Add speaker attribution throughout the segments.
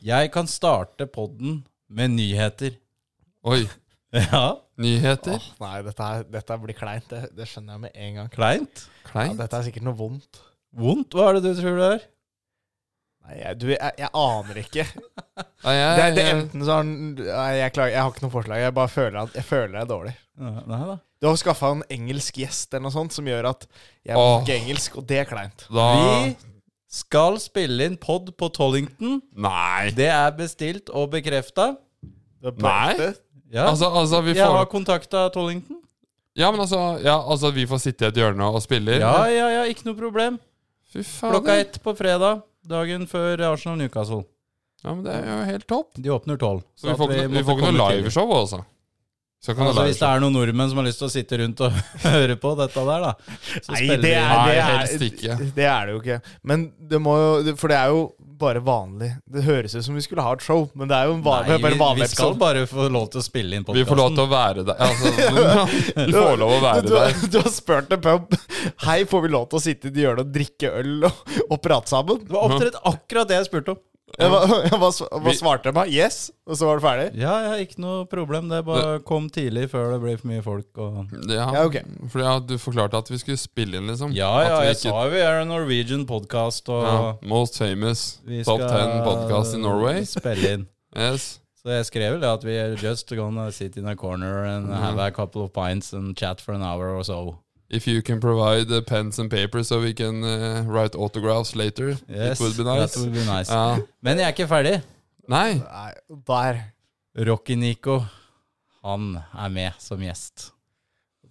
Speaker 1: Jeg kan starte podden med nyheter.
Speaker 2: Oi.
Speaker 1: Ja,
Speaker 2: Nyheter.
Speaker 3: Åh, nei, dette, her, dette blir kleint. Det, det skjønner jeg med en gang.
Speaker 1: kleint.
Speaker 3: Ja,
Speaker 2: Klein.
Speaker 3: dette er sikkert noe vondt.
Speaker 1: Vondt, hva er det du tror det er?
Speaker 3: Nei, jeg, du, jeg, jeg aner ikke.
Speaker 2: Nei,
Speaker 3: Det,
Speaker 2: jeg,
Speaker 3: er- det er enten sånn Nei, jeg, klager, jeg har ikke noe forslag. Jeg bare føler at jeg føler det er dårlig.
Speaker 1: Nei da.
Speaker 3: Du har skaffa en engelsk gjest eller noe sånt som gjør at jeg må
Speaker 2: Åh.
Speaker 3: ikke engelsk, og det er kleint.
Speaker 2: da
Speaker 1: Vi skal spille inn pod på Tollington.
Speaker 2: Nei.
Speaker 1: Det er bestilt og bekrefta.
Speaker 3: Det er
Speaker 2: Nei.
Speaker 3: bare-
Speaker 1: Ja.
Speaker 2: Altså, altså, vi
Speaker 1: jeg har
Speaker 2: får
Speaker 1: kontakta Tollington.
Speaker 2: Ja, men altså, ja, altså Vi får sitte i et hjørne og spille?
Speaker 1: Ja, ja, ja, ikke noe problem.
Speaker 2: Fy faen.
Speaker 1: Klokka ett på fredag, dagen før Arsenal Newcastle.
Speaker 2: Ja, men Det er jo helt topp.
Speaker 1: De åpner tolv.
Speaker 2: Så vi får, ikke noe- vi får ikke noe liveshow, altså. Skal ikke ha noe
Speaker 1: Altså, hvis det
Speaker 2: liveshow.
Speaker 1: er noen nordmenn som har lyst til å sitte rundt og høre på dette der, da. Så
Speaker 3: Nei,
Speaker 1: spiller vi-
Speaker 3: det er,
Speaker 2: Nei,
Speaker 3: det,
Speaker 2: helst
Speaker 3: er,
Speaker 2: ikke.
Speaker 3: det er det jo ikke. Men det må jo det- For det er jo bare vanlig. Det høres ut som vi skulle ha et show, men det er jo en vanlig,
Speaker 1: Nei,
Speaker 3: bare en
Speaker 1: vi,
Speaker 3: vanlig
Speaker 1: vi skal
Speaker 3: episode.
Speaker 1: bare få lov til å spille inn
Speaker 2: Vi får lov
Speaker 1: podkasten.
Speaker 2: til å være der. Altså, du får lov å være
Speaker 3: Du,
Speaker 2: der.
Speaker 3: har- du har spurt en pub Hei, får vi lov til å sitte i et hjørne og drikke øl og, og prate sammen.
Speaker 1: Det var opptredd akkurat det jeg spurte om.
Speaker 3: Jeg, hva, hva, s- hva
Speaker 2: Vi-
Speaker 3: svarte jeg meg? Yes, og så var det ferdig?
Speaker 1: Ja, ja, ikke noe problem. Det er bare kom tidlig før det blir for mye folk. Og...
Speaker 3: Ja, ok.
Speaker 2: Fordi ja, du forklarte at vi skulle spille inn, liksom.
Speaker 1: Ja,
Speaker 2: At
Speaker 1: ja,
Speaker 2: vi
Speaker 1: jeg
Speaker 2: ikke-
Speaker 1: sa jo vi er en Norwegian podcast, og
Speaker 2: ja, Most famous.
Speaker 1: vi
Speaker 2: Top
Speaker 1: skal
Speaker 2: 10 podcast in Norway.
Speaker 1: spille inn.
Speaker 2: Yes.
Speaker 1: Så jeg skrev vel det at vi are just gonna sit in a corner and
Speaker 2: Mhm.
Speaker 1: have a couple of pints and chat for an hour or so.
Speaker 2: If you can provide uh, pens and paper so we can uh, write autographs later,
Speaker 1: Yes,
Speaker 2: it would be nice.
Speaker 1: that would be nice.
Speaker 2: Ja.
Speaker 1: Men jeg er ikke ferdig.
Speaker 2: Nei.
Speaker 3: Nei, der.
Speaker 1: Rocky-Nico, han er med som gjest.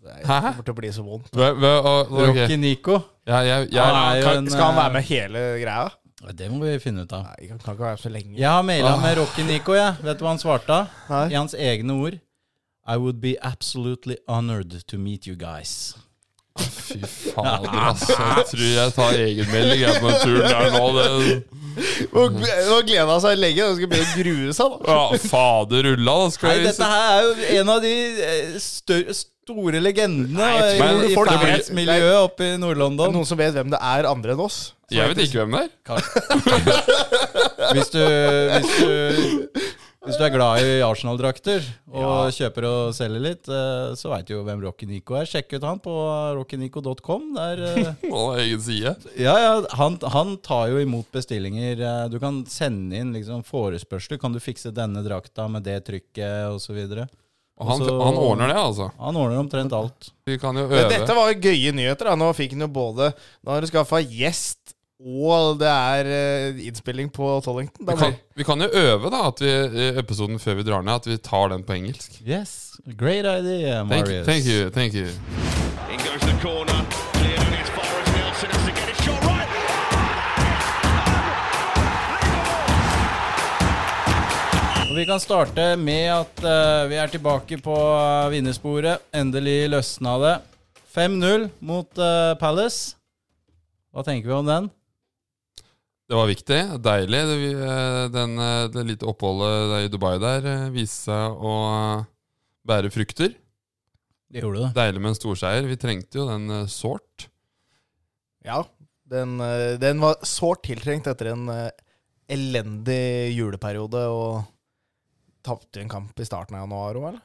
Speaker 3: Det
Speaker 2: Hæ?
Speaker 3: kommer til å bli så vondt.
Speaker 2: Hva- hva- å, ok.
Speaker 1: Rocky-Nico,
Speaker 2: Ja, jeg, jeg,
Speaker 1: Han er jo
Speaker 3: Kan,
Speaker 1: en,
Speaker 3: skal han
Speaker 1: eh,
Speaker 3: være med hele greia?
Speaker 1: det må vi finne ut av.
Speaker 3: Nei, han kan ikke være med så lenge.
Speaker 1: Jeg har maila med Rocky-Nico, jeg. Vet du hva han svarte?
Speaker 3: Nei.
Speaker 1: I hans egne ord I would be absolutely honored to meet you guys.
Speaker 2: Ah, Fy fader,
Speaker 1: Ah.
Speaker 2: altså. Jeg tror jeg tar egenmelding jeg, på en tur der nå. Det,
Speaker 3: Og- og gleda han seg lenge, og skal begynne å grue seg. da.
Speaker 2: ja, fader rulla, da skal
Speaker 1: Nei,
Speaker 2: vi
Speaker 1: dette her er jo en av de eh, stør, store legendene
Speaker 3: jeg
Speaker 1: eh,
Speaker 2: tror
Speaker 1: i
Speaker 3: folk-
Speaker 1: fansmiljøet oppe i
Speaker 3: Er det
Speaker 1: Nord-London.
Speaker 3: Noen som vet hvem det er, andre enn oss?
Speaker 2: Jeg vet ikke hvem det er.
Speaker 1: Hvis du, hvis du, hvis du er glad i Arsenal-drakter og kjøper og selger litt, eh, så veit du jo hvem Rocky Nico er. Sjekk ut han på rockynico.com. Der eh,
Speaker 2: Han har egen side.
Speaker 1: Ja, ja, han, han tar jo imot bestillinger. Eh, Du kan sende inn liksom forespørsler. Kan du fikse denne drakta med det trykket, osv.?
Speaker 2: Og han,
Speaker 1: Altså-
Speaker 2: han ordner det, altså.
Speaker 1: Han ordner omtrent alt.
Speaker 2: Vi kan jo
Speaker 3: Men
Speaker 2: øve.
Speaker 3: dette var jo gøye nyheter. da. Nå fikk han jo både Nå har du skaffa gjest, og det er eh, innspilling på Tollington. Da
Speaker 2: Vi kan,
Speaker 3: blir-
Speaker 2: vi kan jo øve, da, at vi, i episoden før vi drar ned, at vi tar den på engelsk.
Speaker 1: Yes, great idea,
Speaker 2: Thank,
Speaker 1: Marius.
Speaker 2: thank you. thank you
Speaker 4: In goes the corner. Cleared and it's far as Nelson has to get it shot right.
Speaker 1: Og vi kan starte med at eh, vi er tilbake på eh, vinnersporet. Endelig løsna det. 5-0 mot eh, Palace. Hva tenker vi om den?
Speaker 2: Det var viktig. Deilig. Det, vi- eh, den, eh, det lite oppholdet der i Dubai der eh, viste seg å eh, bære frukter.
Speaker 1: Det gjorde det.
Speaker 2: Deilig med en storseier. Vi trengte jo den eh, sårt.
Speaker 3: Ja. Den, eh, den var sårt tiltrengt etter en eh, elendig juleperiode og tapte en kamp i starten av januar òg, eller?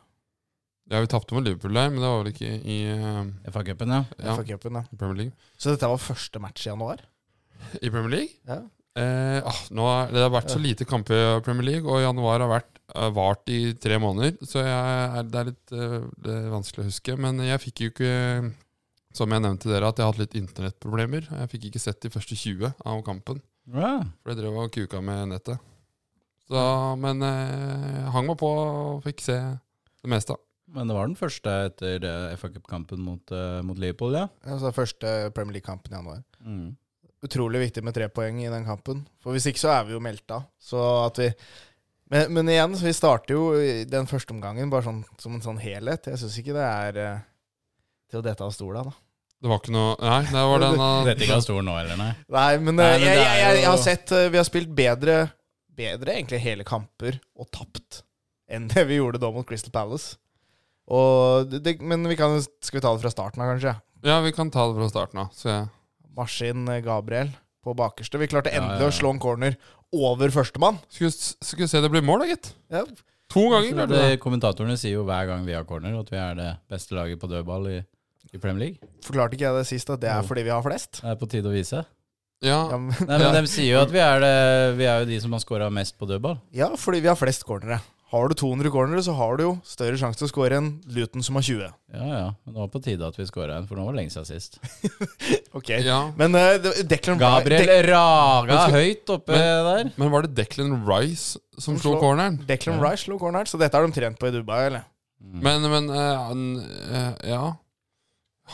Speaker 2: Ja, vi tapte mot Liverpool der, men det var vel ikke i eh,
Speaker 1: FA-cupen, ja.
Speaker 2: ja,
Speaker 3: FA-cupen, ja.
Speaker 2: i Premier League.
Speaker 3: Så dette var første match i januar?
Speaker 2: I Premier League?
Speaker 3: Ja.
Speaker 2: Eh, ah, nå er, det har vært så lite kamper i Premier League, og januar har vært, eh, vart i tre måneder, så jeg er, det er litt eh, det er vanskelig å huske. Men jeg fikk jo ikke, som jeg nevnte dere, at jeg har hatt litt internettproblemer. Jeg fikk ikke sett de første 20 av kampen,
Speaker 1: ja.
Speaker 2: for jeg drev og kuka med nettet. Så, men eh, jeg hang meg på og fikk se det meste.
Speaker 1: Men det var den første etter eh, FA-cupkampen mot, eh, mot Liverpool, ja.
Speaker 3: Altså første Premier League-kampen i januar.
Speaker 1: Mm.
Speaker 3: utrolig viktig med tre poeng i den kampen. For hvis ikke så er vi jo meldt av. Så at vi men, men igjen, så vi starter jo i den første omgangen bare sånn som en sånn helhet. Jeg syns ikke det er eh, til å dette av stola, da.
Speaker 2: Det var ikke noe Nei, det var den eh,
Speaker 1: Dette ikke er stor nå, eller nei?
Speaker 3: Nei, men,
Speaker 1: Nei,
Speaker 3: eh,
Speaker 1: men det
Speaker 3: jeg, jeg,
Speaker 1: er
Speaker 3: jeg, jeg har
Speaker 1: jo-
Speaker 3: sett eh, Vi har spilt bedre, bedre egentlig hele kamper og tapt enn det vi gjorde da mot Crystal Palace. Og det, det, men vi kan, jo- skal vi ta det fra starten av, kanskje?
Speaker 2: Ja, vi kan ta det fra starten av. Så jeg
Speaker 3: Maskin eh, Gabriel på bakerste. Vi klarte
Speaker 1: Ja,
Speaker 3: endelig
Speaker 1: ja, ja.
Speaker 3: å slå en corner over førstemann.
Speaker 2: Skulle, s- skulle se det ble mål, da, gitt.
Speaker 3: Ja.
Speaker 2: To ganger
Speaker 1: Så
Speaker 2: klarte det.
Speaker 1: det- Kommentatorene sier jo hver gang vi har corner, at vi er det beste laget på dødball i, i Premier League.
Speaker 3: Forklarte ikke jeg det sist, at det er
Speaker 1: Jo.
Speaker 3: fordi vi har flest?
Speaker 1: Det er på tide å vise.
Speaker 3: Ja,
Speaker 2: Ja,
Speaker 3: men,
Speaker 1: Nei, men De sier jo at vi er, det, vi er jo de som har scora mest på dødball.
Speaker 3: ja fordi vi har flest cornere. Har du 200 cornere, så har du jo større sjanse til å score enn Luton, som har 20.
Speaker 1: Ja, ja. Men det var på tide at vi scora en, for nå var det lenge siden sist.
Speaker 3: Ok.
Speaker 2: ja.
Speaker 3: Men eh, det- Declan
Speaker 1: Gabriel
Speaker 3: Rice,
Speaker 1: raga høyt oppe der.
Speaker 2: Men var det Declan Rice som
Speaker 3: Som
Speaker 2: slo
Speaker 3: slår-
Speaker 2: corneren?
Speaker 3: Dec Declan Rice slo corneren, så dette har de trent på i Dubai, eller?
Speaker 2: Men, men eh, han, eh, Ja.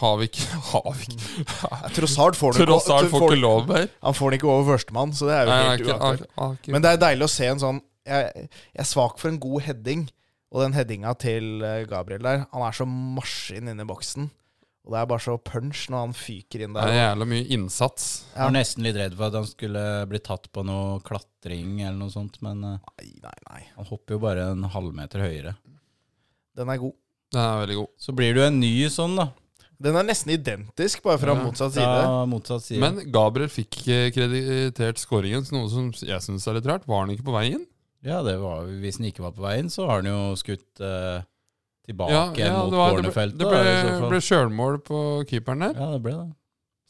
Speaker 2: Har vi ikke Har vi ikke
Speaker 3: Trossard får den
Speaker 2: Tross alt får ikke lov mer.
Speaker 3: Han får den ikke over førstemann, så det er jo
Speaker 2: Nei, han er
Speaker 3: helt
Speaker 2: ikke- han
Speaker 3: uaktuelt.
Speaker 2: er- han er ikke-
Speaker 3: Men det er deilig å se en sånn Jeg, jeg er svak for en god heading, og den headinga til eh, Gabriel der Han er så maskin inne i boksen. Og det er bare så punch når han fyker inn
Speaker 2: Det er
Speaker 3: der.
Speaker 2: jævla mye innsats.
Speaker 1: Jeg var nesten litt redd for at han skulle bli tatt på noe klatring eller noe sånt, men eh,
Speaker 3: Nei, nei, nei.
Speaker 1: han hopper jo bare en halvmeter høyere.
Speaker 3: Den er god.
Speaker 2: Den er veldig god.
Speaker 1: Så blir det jo en ny sånn, da.
Speaker 3: Den er nesten identisk, bare fra
Speaker 2: Ja.
Speaker 3: motsatt side.
Speaker 1: Fra motsatt side.
Speaker 2: Men Gabriel fikk ikke kreditert skåringen, så noe som jeg syns er litt rart. Var han ikke på vei inn?
Speaker 1: Ja, det var, hvis han ikke var på veien, så har han jo skutt eh, tilbake mot
Speaker 2: det, var, det ble,
Speaker 1: cornerfeltet.
Speaker 2: det
Speaker 1: da, i så
Speaker 2: ble,
Speaker 1: fall.
Speaker 2: ble sjølmål på keeperen der.
Speaker 1: Ja, det ble det.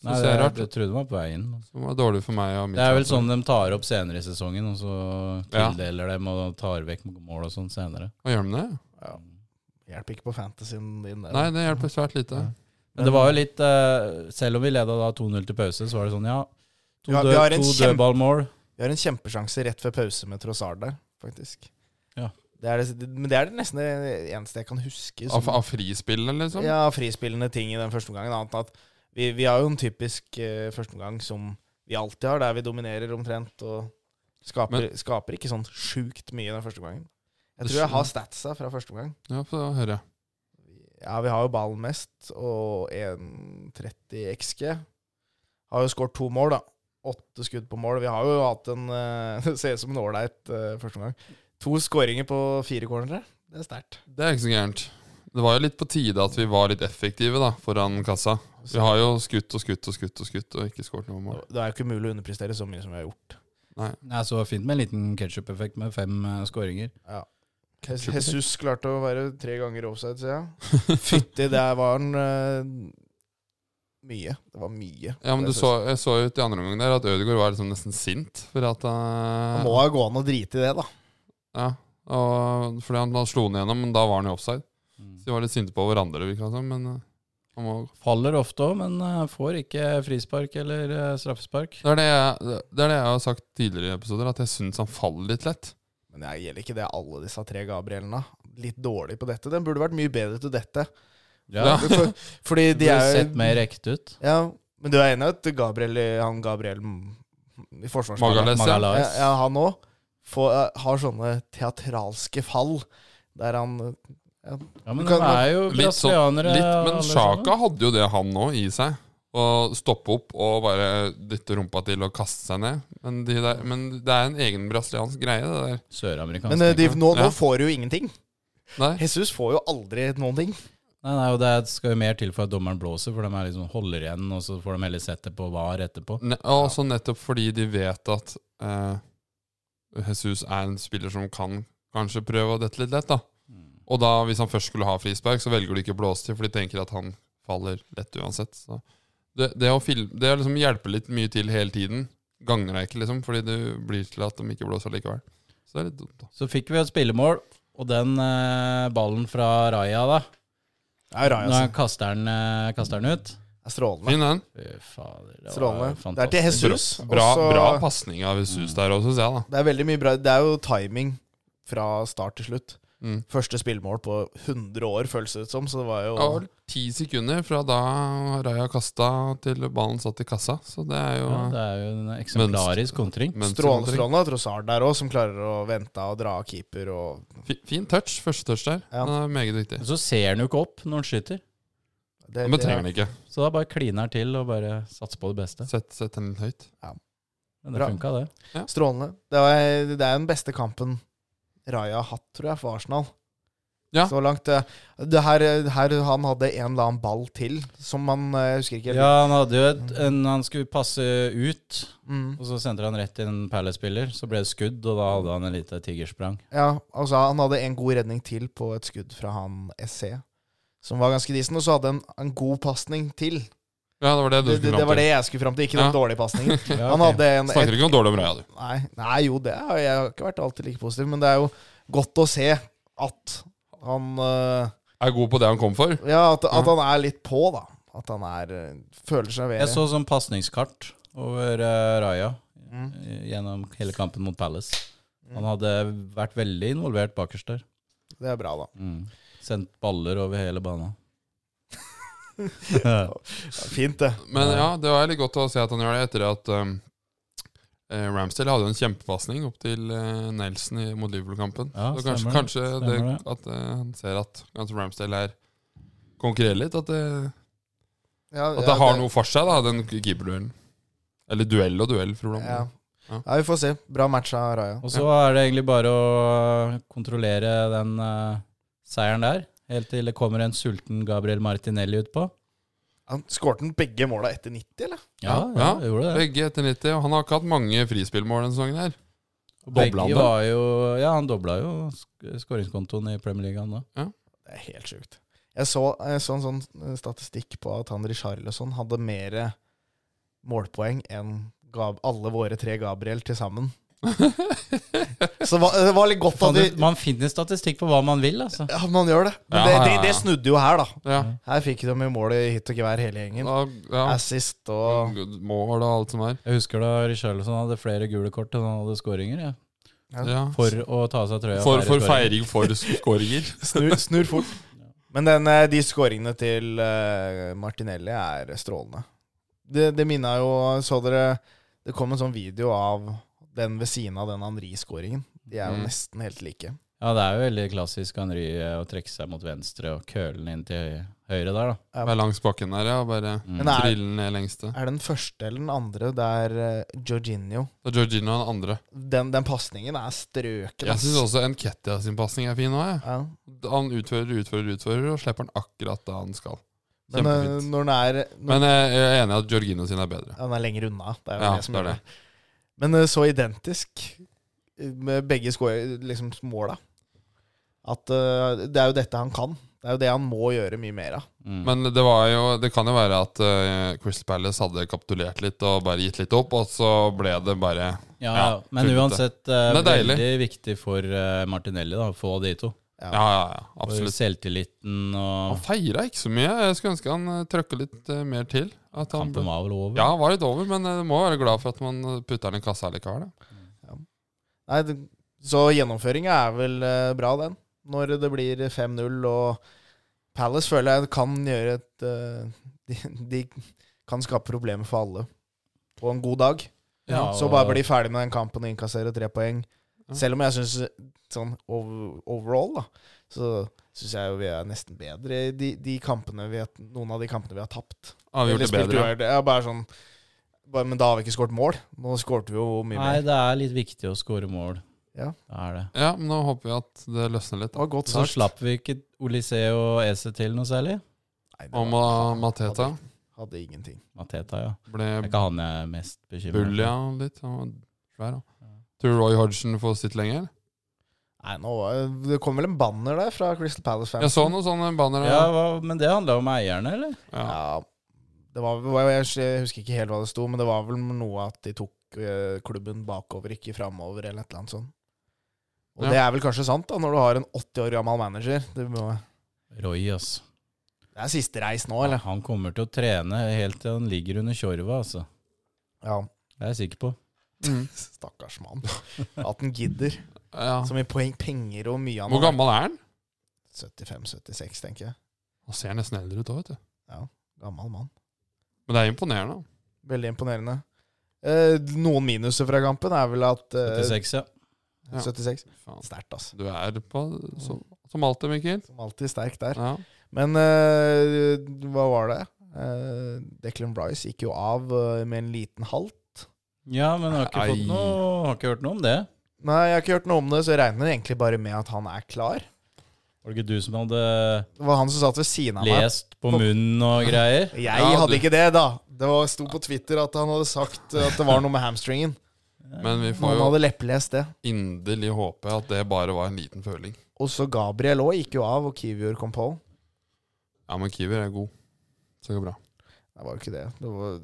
Speaker 2: Så
Speaker 1: Nei,
Speaker 2: ser
Speaker 1: det,
Speaker 2: jeg
Speaker 1: jeg
Speaker 2: rart
Speaker 1: ble- trodde han var på veien. altså.
Speaker 2: Det var dårlig for meg. Og mitt
Speaker 1: Det er vel
Speaker 2: lag.
Speaker 1: sånn de tar opp senere i sesongen, og så
Speaker 2: Ja.
Speaker 1: tildeler dem og tar vekk mål og sånn senere.
Speaker 2: Hva gjør de det?
Speaker 3: Ja. Hjelper ikke på fantasyen din.
Speaker 2: Nei, det hjelper svært lite.
Speaker 1: Men det var jo litt eh, Selv om vi leda da 2-0 til pause, så var det sånn, ja To,
Speaker 3: Ja, vi
Speaker 1: død,
Speaker 3: har en
Speaker 1: to
Speaker 3: kjempe-
Speaker 1: dødballmål.
Speaker 3: Vi har en kjempesjanse rett før pause med Trossard der, faktisk.
Speaker 1: Ja.
Speaker 3: Det er det, men det er det nesten det eneste jeg kan huske.
Speaker 2: Av,
Speaker 1: sånn-
Speaker 2: av frispillene, liksom?
Speaker 3: ja, frispillende ting i den første omgangen. Annet enn at vi, vi har jo en typisk eh, førsteomgang som vi alltid har, der vi dominerer omtrent og skaper, skaper ikke sånn sjukt mye i den første omgangen. Jeg
Speaker 2: Det
Speaker 3: tror jeg
Speaker 2: skj-
Speaker 3: har statsa fra første omgang.
Speaker 2: Ja, få høre.
Speaker 3: Ja, vi har jo ballen mest, og 1,30 XG. Har jo skåret to mål, da. Åtte skudd på mål. Vi har jo hatt en eh, Det ser ut som en ålreit eh, første omgang. To skåringer på fire cornere. Det er sterkt.
Speaker 2: Det er ikke så gærent. Det var jo litt på tide at vi var litt effektive da, foran kassa. Vi har jo skutt og skutt og skutt og skutt og ikke skåret noe mål.
Speaker 3: Det er jo ikke mulig å underprestere så mye som vi har gjort.
Speaker 1: Nei, så fint med en liten ketsjup-effekt med fem uh, skåringer.
Speaker 3: Jesus klarte å være tre ganger offside, sier jeg. Fytti, der var han eh, mye. Det var mye.
Speaker 2: Ja, men du så, jeg så jo ut i andre omgang der at Ødegaard var liksom nesten sint. For at eh,
Speaker 3: Det
Speaker 2: han
Speaker 3: må ha gå an å drite i det, da.
Speaker 2: Ja, og, fordi han, han slo den gjennom, men da var han jo offside. Så
Speaker 1: Mm.
Speaker 2: de var litt sinte på hverandre, virka det som. Men eh, han må,
Speaker 1: Faller ofte òg, men eh, får ikke frispark eller eh, straffespark.
Speaker 2: det, er det, jeg, det er det jeg har sagt tidligere i episoder, at jeg syns han faller litt lett.
Speaker 3: Men det gjelder ikke det alle disse tre Gabrielene. Litt dårlig på dette. Den burde vært mye bedre til dette.
Speaker 1: Ja,
Speaker 3: For, fordi
Speaker 1: Det
Speaker 3: de
Speaker 1: burde
Speaker 3: er
Speaker 1: sett mer ekte ut.
Speaker 3: Ja, men du er enig i at Gabriel, han Gabriel m- i forsvarsspillet
Speaker 2: Magalhaes, ja.
Speaker 3: ja,
Speaker 1: Magalhaes.
Speaker 3: ja, han òg har sånne teatralske fall der han ja,
Speaker 1: Ja, men de
Speaker 3: Du kan
Speaker 1: er jo
Speaker 2: Litt sånn,
Speaker 1: brasilianere.
Speaker 2: litt, men
Speaker 1: alle sammen.
Speaker 2: Sjaka hadde jo det, han òg, i seg. Å stoppe opp og bare dytte rumpa til og kaste seg ned. Men, de der, men det er en egen brasiliansk greie, det der.
Speaker 1: Søramerikansk.
Speaker 3: Men eh, de,
Speaker 1: tenker jeg.
Speaker 3: nå, nå
Speaker 2: Ja.
Speaker 3: får du jo ingenting.
Speaker 2: Nei,
Speaker 3: Jesus får jo aldri noen ting.
Speaker 1: Nei, nei, og Det skal jo mer til for at dommeren blåser, for de er liksom holder igjen, og så får de heller sett det på VAR etterpå.
Speaker 2: ne, og også nettopp fordi de vet at eh, Jesus er en spiller som kan kanskje prøve å dette litt lett, da. Og da, hvis han først skulle ha frispark, så velger de ikke å blåse til, for de tenker at han faller lett uansett. Så det, det å, fil- det å liksom hjelpe litt mye til hele tiden gagner deg ikke, liksom, fordi det blir til at de ikke blåser likevel. Så det er litt dumt, da.
Speaker 1: Så fikk vi et spillemål, og den eh, ballen fra Raja, da
Speaker 3: Det er
Speaker 1: Når
Speaker 3: Raja
Speaker 1: han kaster den, eh, kaster den ut
Speaker 3: er strålende.
Speaker 2: Fin den.
Speaker 1: Fy fader, det var
Speaker 3: Strålende. Det er til
Speaker 1: fantastisk.
Speaker 3: Jesus.
Speaker 2: Bra,
Speaker 3: og så-
Speaker 2: bra pasning av Jesus der òg, syns jeg, da.
Speaker 3: Det er veldig mye bra. Det er jo timing fra start til slutt.
Speaker 2: Mm.
Speaker 3: Første spillmål på 100 år, føles det ut som. Så det var jo
Speaker 2: Det var vel ti sekunder fra da Raja kasta til ballen satt i kassa, så det er jo
Speaker 1: Ja, det er jo en eksemplarisk kontring.
Speaker 2: men-
Speaker 3: strålende strålende av Trossard der òg, som klarer å vente og dra av keeper. Og
Speaker 2: Fi- Fin touch, første touch der.
Speaker 3: Ja.
Speaker 2: Den er meget viktig.
Speaker 1: Men Så ser han jo ikke opp når han skyter,
Speaker 3: det,
Speaker 2: Men trenger den ikke.
Speaker 1: så da bare kliner han til og bare satser på det beste.
Speaker 2: Sett, sett den litt høyt.
Speaker 1: Men det
Speaker 3: Bra.
Speaker 1: funka, det.
Speaker 3: Strålende. Det, var, det er den beste kampen Raja har hatt, tror jeg, for Arsenal.
Speaker 2: Ja.
Speaker 3: Så langt. eh, Det her, her han hadde en eller annen ball til, som man eh, Jeg husker ikke. helt.
Speaker 1: Ja, han hadde jo et en, Han skulle passe ut,
Speaker 3: Mm.
Speaker 1: og så sendte han rett til en Palace-spiller. Så ble det skudd, og da hadde han en lite tigersprang.
Speaker 3: ja, altså Han hadde en god redning til på et skudd fra han SC, som var ganske decent. Og så hadde han en, en god pasning til.
Speaker 2: Ja, det var det du
Speaker 3: Det, det,
Speaker 2: skulle
Speaker 3: det
Speaker 2: fram
Speaker 3: var
Speaker 2: til.
Speaker 3: det jeg skulle fram til, ikke
Speaker 2: Ja.
Speaker 3: den dårlige pasningen.
Speaker 1: Ja,
Speaker 3: Han
Speaker 1: ok.
Speaker 3: hadde en
Speaker 2: Snakker ikke om dårlig og bra, du.
Speaker 3: Nei, nei jo, det har jeg har ikke vært alltid like positiv, men det er jo godt å se at han øh,
Speaker 2: Er god på det han kom for.
Speaker 3: Ja, at,
Speaker 2: Ja.
Speaker 3: at han er litt på, da. At han er øh, føler seg ved
Speaker 1: Jeg så sånn pasningskart over eh, Raja
Speaker 3: Mm.
Speaker 1: eh, gjennom hele kampen mot Palace. Han hadde vært veldig involvert bakerst der.
Speaker 3: Det er bra, da.
Speaker 1: Mm. Sendt baller over hele banen.
Speaker 3: Ja, fint, det.
Speaker 2: Men ja, det var litt godt å se at han gjør det etter at um, eh, Ramsdale hadde jo en kjempepasning opp til eh, Nelson i, mot Liverpool-kampen.
Speaker 1: Ja,
Speaker 2: så kanskje,
Speaker 1: stemmer det.
Speaker 2: kanskje det,
Speaker 1: Stemmer det.
Speaker 2: at eh, han ser at kanskje Ramsdale her konkurrerer litt. At det,
Speaker 3: Ja,
Speaker 2: at
Speaker 3: ja,
Speaker 2: det har noe for seg, da, den keeperduellen. Eller duell og duell, for
Speaker 3: ja.
Speaker 2: hvordan. Ja.
Speaker 3: ja, vi får se. Bra match av Raja.
Speaker 1: Og så er det egentlig bare å eh, kontrollere den eh, seieren der, helt til det kommer en sulten Gabriel Martinelli utpå.
Speaker 3: Han skårte han begge måla etter 90, eller?
Speaker 1: Ja, ja,
Speaker 2: Ja,
Speaker 1: jeg gjorde det.
Speaker 2: Begge etter 90, og han har ikke hatt mange frispillmål denne sesongen her.
Speaker 1: Og
Speaker 2: doblet han
Speaker 1: Begge
Speaker 2: det?
Speaker 1: var jo Ja, han dobla jo sk- skåringskontoen i Premier League, han da.
Speaker 3: Det er helt sjukt. Jeg så, jeg så en sånn øh, statistikk på at han Richarlison hadde mer målpoeng enn Gab alle våre tre Gabriel til sammen. Så det var, det var litt godt
Speaker 1: Faen,
Speaker 3: at de
Speaker 1: det- Man finner statistikk på hva man vil, altså.
Speaker 3: Ja, man gjør det. Men
Speaker 2: Ja,
Speaker 3: det,
Speaker 2: ja,
Speaker 3: det,
Speaker 2: ja.
Speaker 3: det snudde jo her, da.
Speaker 2: Ja,
Speaker 3: Her fikk de jo mål i hit og gevær, hele gjengen.
Speaker 2: da, ja.
Speaker 3: Assist og
Speaker 2: Mål og alt som er.
Speaker 1: Jeg husker da Richarlison hadde flere gule kort enn han hadde skåringer. Ja.
Speaker 2: Ja.
Speaker 1: For å ta av seg trøya. og
Speaker 2: For,
Speaker 1: feire
Speaker 2: for
Speaker 1: scoring.
Speaker 2: feiring for skåringer.
Speaker 3: snur, snur fort. Men den, eh, de scoringene til eh, Martinelli er strålende. Det, det minna jo Så dere Det kom en sånn video av den ved siden av den Henri-scoringen. De er jo
Speaker 2: Mm.
Speaker 3: nesten helt like.
Speaker 1: Ja, det er jo veldig klassisk Henry eh, å trekke seg mot venstre og køle den inn til høy- høyre der, da. Mm.
Speaker 2: Være langs bakken der, ja. og Bare
Speaker 3: Men det er,
Speaker 2: trille den ned lengste.
Speaker 3: er det den første eller den andre der uh, Jorginho
Speaker 2: Så Georgina den andre.
Speaker 3: Den, den pasningen er strøken.
Speaker 2: Jeg
Speaker 3: ass.
Speaker 2: syns også Nketia sin pasning er fin òg, jeg.
Speaker 3: ja.
Speaker 2: Han utfører, utfører, utfører, og slipper den akkurat da han skal.
Speaker 3: Men eh,
Speaker 2: Kjempefint.
Speaker 3: når den er når
Speaker 2: Men eh, jeg er enig i at Georgino sin er bedre.
Speaker 3: Han er lenger unna. Det er jo
Speaker 2: Ja,
Speaker 3: det som
Speaker 2: det er
Speaker 3: gjør det. Men eh, så identisk eh, med begge score, liksom, måla. At eh, det er jo dette han kan. Det er jo det han må gjøre mye mer av.
Speaker 1: Mm.
Speaker 2: Men det, var jo, det kan jo være at eh, Crystal Palace hadde kapitulert litt og bare gitt litt opp, og så ble det bare
Speaker 1: ja,
Speaker 2: ja,
Speaker 1: men
Speaker 2: tullete.
Speaker 1: uansett eh,
Speaker 2: Men det er deilig.
Speaker 1: veldig viktig for eh, Martinelli da, å få de to.
Speaker 2: Ja, ja, ja
Speaker 1: For
Speaker 2: absolutt.
Speaker 1: selvtilliten
Speaker 2: Han
Speaker 1: og
Speaker 2: feira ikke så mye. Jeg skulle ønske han eh, trøkka litt eh, mer til. At han,
Speaker 1: Kampen var vel over.
Speaker 2: ja, han var litt over, men eh, du må være glad for at man eh, putter den i kassa likevel. da.
Speaker 3: Nei, det, så gjennomføringa er vel eh, bra, den. Når det blir 5-0 og Palace føler jeg kan gjøre et eh, de, de kan skape problemer for alle på en god dag.
Speaker 1: Ja,
Speaker 3: Så
Speaker 1: og-
Speaker 3: bare bli ferdig med den kampen og innkassere tre poeng.
Speaker 2: Ja.
Speaker 3: Selv om jeg syns sånn ov- overall, da, så syns jeg jo vi er nesten bedre i de, de kampene vi har, noen av de kampene vi har tapt.
Speaker 2: Har vi gjort det
Speaker 3: Eller spilt
Speaker 2: bedre?
Speaker 3: uavgjort. Ja, bare sånn bare, Men da har vi ikke skåret mål. Nå skårte vi jo mye
Speaker 1: Nei,
Speaker 3: mer.
Speaker 1: det er litt viktig å score mål.
Speaker 3: Ja.
Speaker 1: Det er det.
Speaker 2: Ja, men nå håper vi at det løsner litt.
Speaker 3: Det var godt
Speaker 1: Så
Speaker 3: sagt.
Speaker 1: slapp vi ikke Olysée og Ese til noe særlig.
Speaker 3: Nei, det
Speaker 2: Og
Speaker 3: var-
Speaker 2: Ma- Mateta
Speaker 3: Hadde, hadde ingenting.
Speaker 1: Mateta, ja.
Speaker 2: ble
Speaker 1: Det er ikke han jeg er mest bekymra
Speaker 2: bull, ja, litt. Han var svær, da. Tror du Roy Hodgson får sitt lenger?
Speaker 3: Nei, nå var- Det kom vel en banner der fra Crystal Palace-fans.
Speaker 2: Jeg så noen sånne banner.
Speaker 1: Ja,
Speaker 2: Ja.
Speaker 1: hva- men det handla om eierne, eller?
Speaker 2: Ja.
Speaker 3: Ja, det var, vel- jeg husker ikke helt hva det sto, men det var vel noe at de tok eh, klubben bakover, ikke framover, eller et eller annet sånt. Og
Speaker 2: Ja.
Speaker 3: det er vel kanskje sant, da, når du har en 80 år gammel manager. Det, må,
Speaker 1: Roy, ass.
Speaker 3: det er siste reis nå, eller?
Speaker 1: Han kommer til å trene helt til han ligger under kjorva, altså.
Speaker 3: Ja.
Speaker 1: Det er jeg sikker på.
Speaker 2: Mm.
Speaker 3: Stakkars mann. At han gidder.
Speaker 2: ja.
Speaker 3: Så mye poeng, penger og mye
Speaker 2: Hvor
Speaker 3: annet.
Speaker 2: gammel er han?
Speaker 3: 75-76, tenker jeg.
Speaker 2: Han ser nesten eldre ut òg, vet du.
Speaker 3: Gammel mann.
Speaker 2: Men det er imponerende. da.
Speaker 3: Veldig imponerende. Eh, noen minuser fra kampen er vel at eh,
Speaker 1: 76, ja.
Speaker 3: 76.
Speaker 2: Faen.
Speaker 3: Sterkt, altså.
Speaker 2: Du er på så, som alltid, Mikkel.
Speaker 3: Som alltid sterk der.
Speaker 2: Ja.
Speaker 3: Men eh, hva var det? Eh, Declan Rice gikk jo av eh, med en liten halt.
Speaker 1: Ja, men har ikke, fått
Speaker 2: Nei.
Speaker 1: noe, har ikke hørt noe om det.
Speaker 3: Nei, jeg har ikke hørt noe om det, så jeg regner egentlig bare med at han er klar.
Speaker 1: Var det ikke du som hadde
Speaker 3: Det var han som satt ved siden av meg.
Speaker 1: lest på munnen og greier?
Speaker 3: Jeg
Speaker 2: Ja,
Speaker 3: hadde
Speaker 2: du-
Speaker 3: ikke det, da. Det var- sto på Twitter at han hadde sagt eh, at det var noe med hamstringen.
Speaker 2: Men vi får
Speaker 3: Han
Speaker 2: jo
Speaker 3: hadde leppelest det.
Speaker 2: inderlig håpe at det bare var en liten føling.
Speaker 3: Også Gabriel òg gikk jo av, og Kiwior kom på.
Speaker 2: Ja, men Kiwier er god. Så det går bra.
Speaker 3: Det var jo ikke det. Det, var,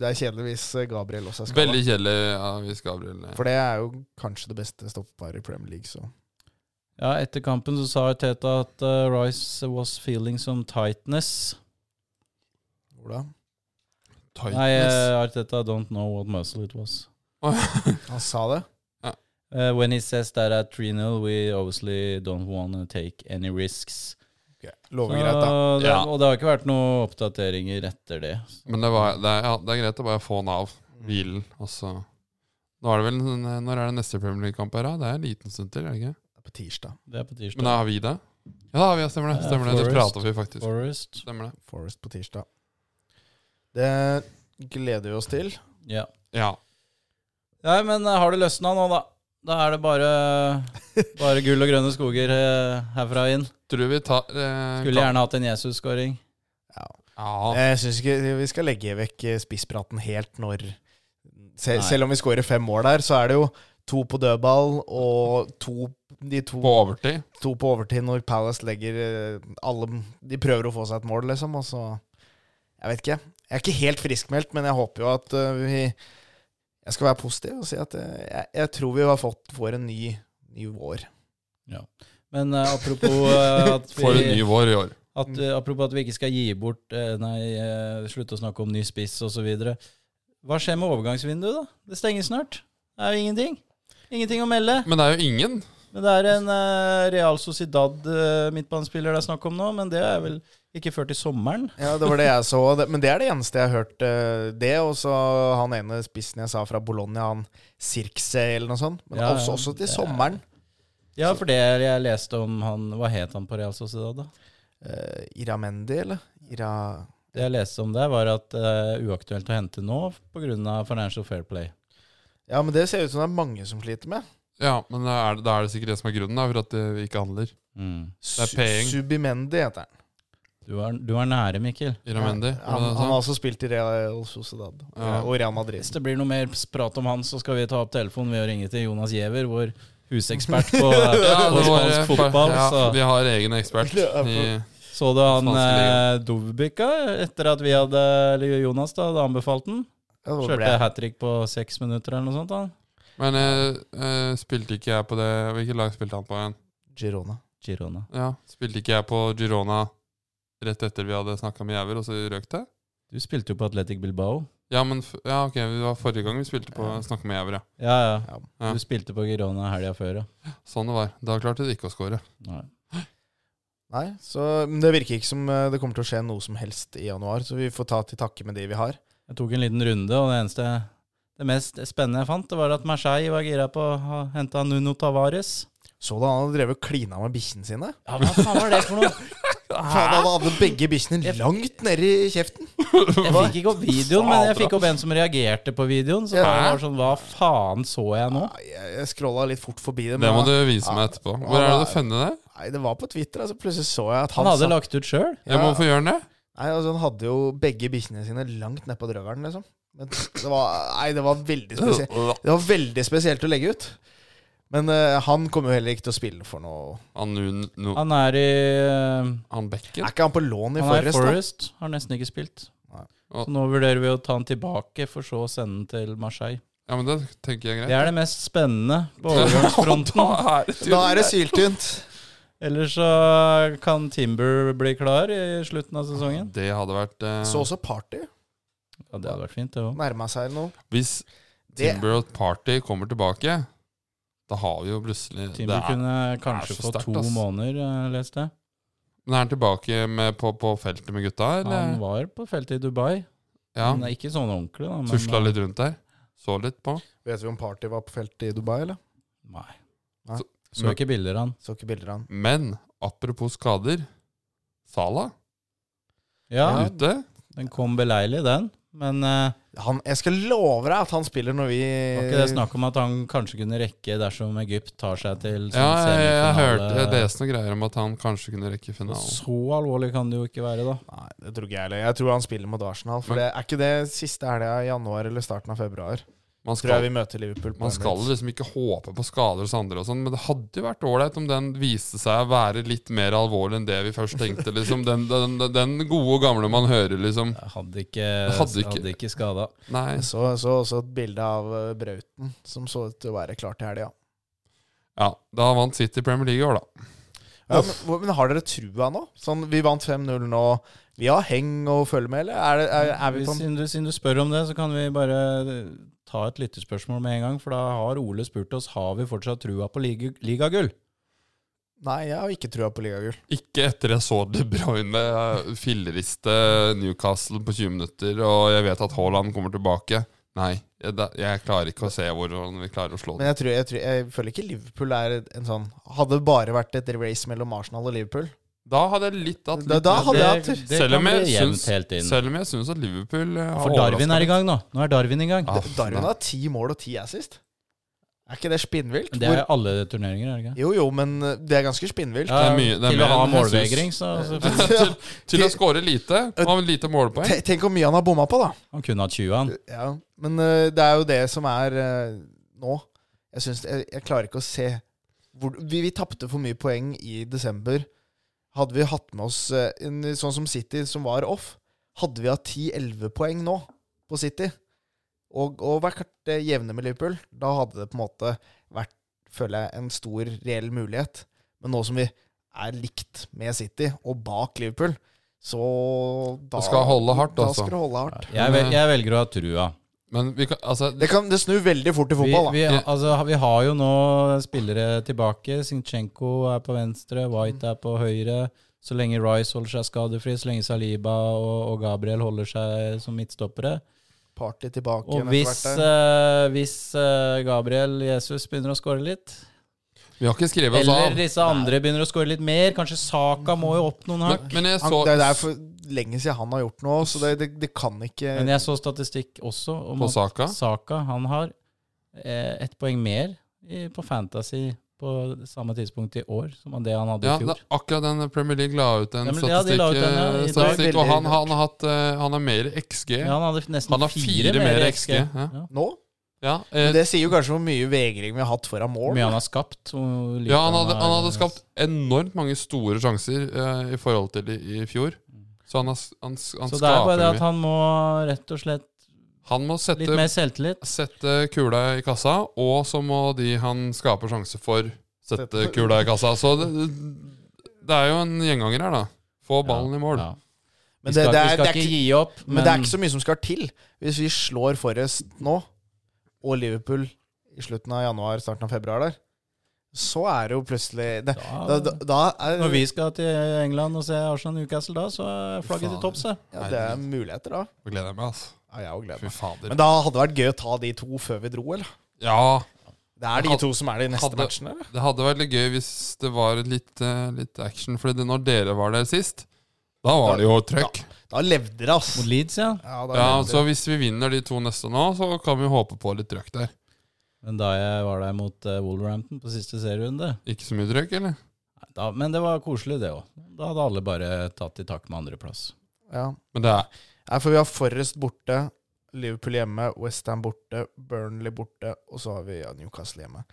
Speaker 3: det er kjedelig hvis eh, Gabriel også er skada.
Speaker 2: Veldig kjedelig ja, hvis Gabriel
Speaker 3: For det er jo kanskje det beste stopparet i Premier League, så
Speaker 1: Ja, etter kampen så sa Teta at eh, Rice was feeling some tightness.
Speaker 3: hvor da?
Speaker 1: Nei,
Speaker 2: Tightness.
Speaker 1: eh, Arteta don't know what muscle it was. eh,
Speaker 3: Han sa det.
Speaker 1: Uh, when he says that at 3-0, we obviously don't want to take any risks.
Speaker 3: Lover
Speaker 1: Så
Speaker 3: greit, da.
Speaker 1: det,
Speaker 2: Ja.
Speaker 1: Og det har ikke vært noen oppdateringer etter det.
Speaker 2: Men det, var, det, er, ja, det er greit å bare få den av.
Speaker 1: Mm.
Speaker 2: Hvilen, og så Nå er det vel en, Når er det neste Premier League-kamp her, da? Det er en liten stund til, er det ikke?
Speaker 3: På tirsdag.
Speaker 1: Det er på tirsdag.
Speaker 2: Men da har vi det? Ja, da har vi det. Stemmer det.
Speaker 1: Ja,
Speaker 2: Stemmer det. Det
Speaker 1: Forest.
Speaker 2: prata vi faktisk.
Speaker 1: Forest.
Speaker 2: Stemmer det.
Speaker 3: Forest på tirsdag. Det gleder vi oss til.
Speaker 1: Ja.
Speaker 2: Ja.
Speaker 1: Nei, men eh, har det løsna nå, da? Da er det bare, bare gull og grønne skoger eh, herfra inn.
Speaker 2: Tror vi tar eh,
Speaker 1: Skulle gjerne hatt en Jesus-skåring.
Speaker 3: Ja.
Speaker 2: Ja.
Speaker 3: Jeg syns ikke vi skal legge vekk eh, spisspraten helt når se,
Speaker 1: Nei.
Speaker 3: Selv om vi skårer fem mål der, så er det jo to på dødball og to, de to,
Speaker 2: På overtid.
Speaker 3: to på overtid når Palace legger eh, alle De prøver å få seg et mål, liksom, og så Jeg vet ikke. Jeg er ikke helt friskmeldt, men jeg håper jo at eh, vi Jeg skal være positiv og si at eh, jeg, jeg tror vi har fått, får en ny, ny vår.
Speaker 1: Men eh, apropos, eh, at
Speaker 2: Får en ny
Speaker 1: vi,
Speaker 2: vår i år.
Speaker 1: at, eh, apropos at vi ikke skal gi bort eh, Nei, eh, slutte å snakke om ny spiss osv. Hva skjer med overgangsvinduet, da? Det stenger snart. Det er jo ingenting. Ingenting å melde.
Speaker 2: Men det er jo ingen.
Speaker 1: Men det er en eh, Real Sociedad eh, midtbanespiller det er snakk om nå, men det er vel ikke før til sommeren.
Speaker 3: Ja, det var det jeg så. Det- Men det er det eneste jeg har hørt eh, det. Og så han ene spissen jeg sa fra Bologna, han Sirkse eller noe sånt. Men
Speaker 1: Ja,
Speaker 3: også,
Speaker 1: ja,
Speaker 3: også til
Speaker 1: det er-
Speaker 3: sommeren.
Speaker 1: Ja, for det jeg leste om han Hva het han på Real Sociedad, da?
Speaker 3: Eh, Iramendi, eller? Ira...
Speaker 1: Det jeg leste om der, var at eh, uaktuelt å hente nå pga. Financial Fair Play.
Speaker 3: Ja, men det ser ut som det er mange som sliter med.
Speaker 2: Ja, men da er det, da er det sikkert det som er grunnen, da, for at eh, vi ikke handler.
Speaker 1: Mm.
Speaker 2: er
Speaker 3: Su-
Speaker 2: peeng.
Speaker 3: Subimendi heter han.
Speaker 1: Du, er, du er nære, Mikkel.
Speaker 2: Iramendi. var
Speaker 3: Han,
Speaker 2: det det
Speaker 3: han har
Speaker 2: du sa?
Speaker 3: også spilt i Real Sociedad
Speaker 2: Ja.
Speaker 3: og Real Madrid.
Speaker 1: Hvis det blir noe mer prat om han, så skal vi ta opp telefonen ved å ringe til Jonas Giæver, vår husekspert på,
Speaker 2: Ja,
Speaker 1: på
Speaker 2: det var, eh,
Speaker 1: spansk fotball.
Speaker 2: ja,
Speaker 1: Så.
Speaker 2: Vi har egen ekspert.
Speaker 3: Ja,
Speaker 2: I,
Speaker 1: Så du han
Speaker 2: Spanske
Speaker 1: eh,
Speaker 2: liga.
Speaker 1: Dovbyka etter at vi hadde, eller Jonas da, hadde anbefalt den?
Speaker 3: Ja, hvor ble
Speaker 1: Kjørte
Speaker 3: jeg?
Speaker 1: hat trick på seks minutter eller noe sånt. da.
Speaker 2: men eh, eh, spilte ikke jeg på det Hvilket lag spilte han på igjen?
Speaker 3: Girona.
Speaker 1: Girona.
Speaker 2: Ja, Spilte ikke jeg på Girona rett etter vi hadde snakka med Jæver, og så røk det?
Speaker 1: Du spilte jo på Atletic Bilbao.
Speaker 2: Ja, men f ja, ok, det var forrige gang vi spilte på
Speaker 3: Ja.
Speaker 2: snakka med Jæver, ja.
Speaker 1: Ja,
Speaker 3: Ja.
Speaker 1: ja. Du spilte på Girona helga før, ja.
Speaker 2: Sånn det var. Da klarte de ikke å score.
Speaker 1: Nei.
Speaker 3: Nei, så men det virker ikke som eh, det kommer til å skje noe som helst i januar, så vi får ta til takke med de vi har.
Speaker 1: Jeg tok en liten runde, og det eneste Det mest spennende jeg fant, det var at Marseille var gira på å hente Nuno Tavares.
Speaker 3: Så da han hadde drevet og klina med bikkjene sine?
Speaker 1: Ja, hva faen var det for noe?
Speaker 3: Faen, han hadde begge bikkjene langt nedi kjeften.
Speaker 1: Jeg fikk ikke opp videoen, men jeg fikk opp en som reagerte på videoen. Så det
Speaker 3: Ja.
Speaker 1: var sånn, hva faen så jeg nå?
Speaker 3: Nei, Jeg, jeg scrolla litt fort forbi det.
Speaker 2: Det
Speaker 3: Men
Speaker 2: må du
Speaker 3: det,
Speaker 2: vise meg etterpå. Hvor er det du funnet det?
Speaker 3: nei, det var på Twitter. Altså, plutselig så jeg at han,
Speaker 1: Han hadde
Speaker 3: sa-
Speaker 1: lagt ut sjøl.
Speaker 2: Jeg må få gjøre det.
Speaker 3: Nei, altså, Han hadde jo begge bikkjene sine langt nedpå drøvelen, liksom. Men det var, nei, det var veldig spesielt Det var veldig spesielt å legge ut. Men eh, han kommer jo heller ikke til å spille for noe
Speaker 2: Han, Nun- Nu-
Speaker 1: Han er i eh,
Speaker 2: han
Speaker 3: Er
Speaker 2: Bekken?
Speaker 3: ikke han på lån i
Speaker 1: Han er i
Speaker 3: Forrest? da?
Speaker 1: Forest. Har nesten ikke spilt.
Speaker 3: Nei.
Speaker 1: Så nå vurderer vi å ta han tilbake, for så å sende han til Marseille.
Speaker 2: Ja, men det tenker jeg er
Speaker 1: Det
Speaker 2: greit.
Speaker 1: er det mest spennende på overgangsfronten.
Speaker 3: Da er det syltynt.
Speaker 1: Ellers så kan Timber bli klar i slutten av sesongen.
Speaker 2: Det hadde vært eh,
Speaker 3: Så også Party.
Speaker 1: Ja, Det hadde vært fint, det òg.
Speaker 3: Nærma seg noe.
Speaker 2: Hvis
Speaker 3: Det,
Speaker 2: Timber og Party kommer tilbake, da har vi jo plutselig det
Speaker 1: Timber
Speaker 2: er,
Speaker 1: kunne kanskje
Speaker 2: så
Speaker 1: få
Speaker 2: sterkt,
Speaker 1: to
Speaker 2: ass.
Speaker 1: måneder, eh, leste jeg.
Speaker 2: Men er han tilbake med, på, på feltet med gutta,
Speaker 1: Han
Speaker 2: eller?
Speaker 1: var på feltet i Dubai.
Speaker 2: Ja.
Speaker 1: Men det er ikke sånn ordentlig, da. Men,
Speaker 2: Tusla litt rundt der. Så litt på.
Speaker 3: vet vi om Party var på feltet i Dubai, eller?
Speaker 1: Nei.
Speaker 3: Nei.
Speaker 1: Så ikke bilder av han.
Speaker 3: Så ikke bilder av han.
Speaker 2: Men apropos skader. Sala
Speaker 1: Ja,
Speaker 2: ute.
Speaker 1: den kom beleilig, den. Men eh,
Speaker 3: Han, jeg skal love deg at han spiller når vi
Speaker 1: var ikke
Speaker 3: Eh.
Speaker 1: det snakk om at han kanskje kunne rekke dersom Egypt tar seg til sånn
Speaker 2: Ja, jeg, jeg, hørte,
Speaker 1: semifinale?
Speaker 2: jeg leste noen greier om at han kanskje kunne rekke finalen.
Speaker 1: Så alvorlig kan det jo ikke være, da.
Speaker 3: Nei, det tror ikke jeg heller. Jeg tror han spiller mot Arsenal. For
Speaker 2: Men-
Speaker 3: det er ikke det siste helga i januar eller starten av februar.
Speaker 2: Man
Speaker 3: Tror jeg
Speaker 2: skal,
Speaker 3: vi møter Liverpool. på
Speaker 2: man skal
Speaker 3: Emirates.
Speaker 2: liksom ikke håpe på skader hos andre, og sånn, men det hadde jo vært ålreit om den viste seg å være litt mer alvorlig enn det vi først tenkte. liksom. Den, den, den gode og gamle man hører, liksom.
Speaker 1: Jeg Hadde ikke,
Speaker 2: Hadde
Speaker 1: hadde
Speaker 2: ikke-
Speaker 1: ikke. skada.
Speaker 2: Nei.
Speaker 3: Jeg så, så også et bilde av eh, Brauten, som så ut til å være klar til helga.
Speaker 2: Ja, da vant City Premier League i år, da.
Speaker 3: Ja, men, hvor- men har dere trua nå? Sånn, Vi vant 5-0 nå. Vi har heng å følge med, eller? Er, det, er, er vi på en
Speaker 1: Siden du, siden du spør om det, så kan vi bare eh, ta et lyttespørsmål med en gang. For da har Ole spurt oss har vi fortsatt trua på liga- ligagull.
Speaker 3: Nei, jeg har ikke trua på ligagull.
Speaker 2: Ikke etter jeg så De Bruyne eh, filleriste Newcastle på 20 minutter, og jeg vet at Haaland kommer tilbake. Nei, jeg, da- jeg klarer ikke å se hvordan vi klarer å slå
Speaker 3: Men
Speaker 2: det.
Speaker 3: jeg, tror, jeg, tror, jeg føler ikke Liverpool er en sånn Hadde det bare vært et race mellom Arsenal og Liverpool
Speaker 2: Da hadde jeg litt hatt
Speaker 3: Da-
Speaker 2: litt
Speaker 3: da
Speaker 2: mer-
Speaker 3: hadde jeg hatt-
Speaker 1: det
Speaker 2: Selv om
Speaker 1: kan
Speaker 2: jeg
Speaker 1: bli jevnt
Speaker 2: syns-
Speaker 1: helt inn.
Speaker 2: Selv om jeg syns at Liverpool eh, har
Speaker 1: For Darwin er
Speaker 2: overrasket
Speaker 1: i
Speaker 2: litt.
Speaker 1: gang nå. Nå er Darwin i gang.
Speaker 2: Ah,
Speaker 3: Darwin
Speaker 2: nei.
Speaker 3: har ti mål og ti assist. Er ikke det spinnvilt?
Speaker 1: Det er alle turneringer, er det ikke?
Speaker 3: Jo, jo, men eh, det er ganske spinnvilt.
Speaker 1: Ja, altså,
Speaker 2: er mye- det er
Speaker 1: til
Speaker 2: mer
Speaker 1: å ha
Speaker 2: enn Jesus.
Speaker 1: målvegring, så, så
Speaker 2: til, til å skåre lite og ha lite målpoeng.
Speaker 3: Te- Tenk hvor mye han har bomma på, da.
Speaker 1: Han kunne hatt 20, han.
Speaker 3: Ja, men eh, det er jo det som er eh, nå. Jeg, synes, jeg, jeg klarer ikke å se hvor, Vi, vi tapte for mye poeng i desember. Hadde vi hatt med oss eh, en, sånn som City, som var off, hadde vi hatt 10-11 poeng nå på City og, og vært eh, jevne med Liverpool, da hadde det på en måte vært, føler jeg, en stor reell mulighet. Men nå som vi er likt med City og bak Liverpool, så da
Speaker 2: Det skal holde hardt,
Speaker 3: da
Speaker 2: altså.
Speaker 3: skal det holde hardt.
Speaker 1: Jeg, vel, jeg velger å ha trua.
Speaker 2: Men vi kan, altså,
Speaker 3: Det, kan, det snur veldig fort i
Speaker 1: Vi,
Speaker 3: fotball, da.
Speaker 1: vi, altså, vi har jo nå spillere tilbake. Sinchenko er på venstre, White er på høyre. Så lenge Rice holder seg skadefri, så lenge Saliba og, og Gabriel holder seg som midtstoppere.
Speaker 3: Party tilbake.
Speaker 1: Og
Speaker 3: igjen etter
Speaker 1: hvis,
Speaker 3: hvert der.
Speaker 1: eh, hvis eh, Gabriel Jesus begynner å skåre litt,
Speaker 2: vi har ikke skrevet oss
Speaker 1: eller
Speaker 2: av.
Speaker 1: disse andre begynner å skåre litt mer, kanskje Saka må jo opp noen hakk.
Speaker 2: Men, men jeg
Speaker 3: han,
Speaker 2: så
Speaker 3: det er for lenge siden han har gjort noe, så det, det, det kan ikke
Speaker 1: Men jeg så statistikk også om
Speaker 2: på
Speaker 1: at
Speaker 2: saka
Speaker 1: Saka han har eh, ett poeng mer i, på Fantasy på samme tidspunkt i år som det han hadde
Speaker 2: ja,
Speaker 1: i
Speaker 2: det
Speaker 1: fjor.
Speaker 2: er akkurat den Premier League la ut
Speaker 1: Ja,
Speaker 2: en
Speaker 1: men- ja, de
Speaker 2: statistikk,
Speaker 1: la ut den, ja, i
Speaker 2: eh,
Speaker 1: dag.
Speaker 2: statistikk og han,
Speaker 3: Veldig
Speaker 2: han, har hatt, eh, han har mer XG.
Speaker 1: Ja, han hadde nesten
Speaker 2: Han har fire mer XG, ja.
Speaker 1: Ja.
Speaker 3: nå.
Speaker 2: Ja, eh,
Speaker 3: Det sier jo kanskje hvor mye vegring vi har hatt foran
Speaker 1: Hvor
Speaker 3: mål.
Speaker 1: mye han har skapt. hvor lite
Speaker 2: ja han, hadde, han
Speaker 1: har-
Speaker 2: hadde skapt enormt mange store sjanser eh, i forhold til i, i fjor. Så han, har, s- han, s- han
Speaker 1: Så det er bare
Speaker 2: skaper
Speaker 1: det at
Speaker 2: mye.
Speaker 1: han må rett og slett
Speaker 2: Han må
Speaker 1: litt
Speaker 2: sette,
Speaker 1: mer selvtillit.
Speaker 2: sette kula i kassa, og så må de han skaper sjanse for, sette
Speaker 3: Sette-
Speaker 2: kula i kassa. Så det, det- det er jo en gjenganger her, da. Få ballen i mål.
Speaker 1: Ja.
Speaker 3: Men
Speaker 1: Vi
Speaker 3: det,
Speaker 1: skal,
Speaker 3: det
Speaker 1: vi
Speaker 3: er,
Speaker 1: skal
Speaker 3: det er
Speaker 1: ikke
Speaker 3: ikke,
Speaker 1: gi opp, men,
Speaker 3: men det er ikke så mye som skal til. Hvis vi slår Forrest nå, og Liverpool i slutten av januar, starten av februar der, så er det jo plutselig det, da,
Speaker 1: da,
Speaker 3: da, da er,
Speaker 1: Når vi skal til England og se Arsenal Newcastle da, så er flagget til
Speaker 2: Faen.
Speaker 1: topps. det.
Speaker 3: ja, det er muligheter, da.
Speaker 2: Jeg gleder meg, altså.
Speaker 3: Ja, jeg òg gleder
Speaker 2: Fy
Speaker 3: meg.
Speaker 2: fader.
Speaker 3: Men da hadde det vært gøy å ta de to før vi dro, eller?
Speaker 2: Ja,
Speaker 3: Det er de
Speaker 2: Hadde-
Speaker 3: to som er de neste
Speaker 2: hadde-
Speaker 3: matchene, eller?
Speaker 2: det hadde vært litt gøy hvis det var litt, eh, litt action. For det, når dere var der sist, da var det jo trøkk.
Speaker 3: Da levde det, ass.
Speaker 1: Mot Leeds, ja.
Speaker 3: Ja, da
Speaker 2: Ja,
Speaker 3: levde det.
Speaker 2: Så hvis vi vinner de to neste nå, så kan vi håpe på litt trøkk der.
Speaker 1: Men da jeg var der mot eh, Wolverhampton på siste serierunde
Speaker 2: Ikke så mye trøkk, eller?
Speaker 1: da, Men det var koselig, det òg. Da hadde alle bare tatt i takt med andreplass.
Speaker 3: ja.
Speaker 2: Men det er
Speaker 3: Nei, for vi har Forrest borte, Liverpool hjemme, Westham borte, Burnley borte, og så har vi ja, Newcastle hjemme.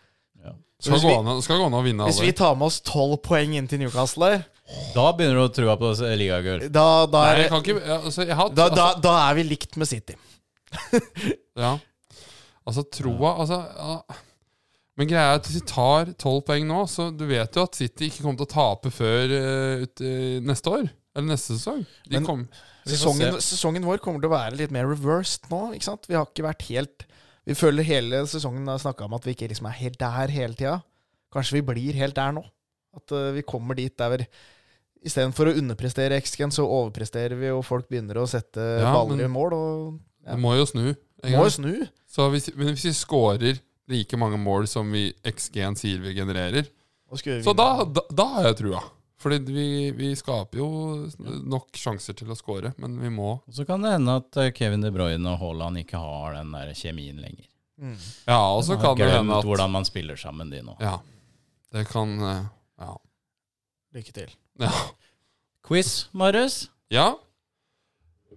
Speaker 1: Ja.
Speaker 2: skal
Speaker 3: Så hvis,
Speaker 2: gå,
Speaker 3: vi,
Speaker 2: an, å- skal gå an å vinne
Speaker 3: hvis vi
Speaker 2: alle.
Speaker 3: tar med oss tolv poeng inn til Newcastle, her,
Speaker 1: Da begynner du å trua på eh, ligagull.
Speaker 3: da, da,
Speaker 2: Nei,
Speaker 3: er,
Speaker 2: jeg kan ikke ja, altså, jeg har,
Speaker 3: da, da,
Speaker 2: altså,
Speaker 3: da er vi likt med City.
Speaker 2: ja. altså, troa Altså ja. Men greia er at hvis vi tar tolv poeng nå, så du vet jo at City ikke kommer til å tape før eh, ut, i neste år. Eller neste sesong. De
Speaker 3: Men-
Speaker 2: kom,
Speaker 1: Vi får
Speaker 3: Sesongen, sesongen vår kommer til å være litt mer reversed nå. ikke sant? Vi har ikke vært helt Vi føler hele sesongen har snakka om at vi ikke liksom er helt der hele tida. Kanskje vi blir helt der nå. At eh, vi kommer dit der vi Istedenfor å underprestere XG-en, så overpresterer vi, og folk begynner å sette
Speaker 2: Ja,
Speaker 3: baller i
Speaker 2: men-
Speaker 3: mål. Og Ja.
Speaker 2: det må jo snu. en gang.
Speaker 3: må jo snu.
Speaker 2: Så hvis, men hvis vi scorer like mange mål som vi XG-en sier vi genererer,
Speaker 3: Og skulle vi
Speaker 2: så
Speaker 3: vinne-
Speaker 2: da, da, da har jeg trua. Fordi vi, vi skaper jo nok sjanser til å score, men vi må
Speaker 1: Og Så kan det hende at eh, Kevin De Bruyne og Haaland ikke har den der kjemien lenger.
Speaker 3: Mm.
Speaker 2: Ja, og så
Speaker 1: De har
Speaker 2: kan det hende
Speaker 1: glemt
Speaker 2: at
Speaker 1: hvordan man spiller sammen, de nå.
Speaker 2: Ja. Det kan eh, Ja.
Speaker 3: Lykke til.
Speaker 2: Ja.
Speaker 1: Quiz, Marius.
Speaker 2: ja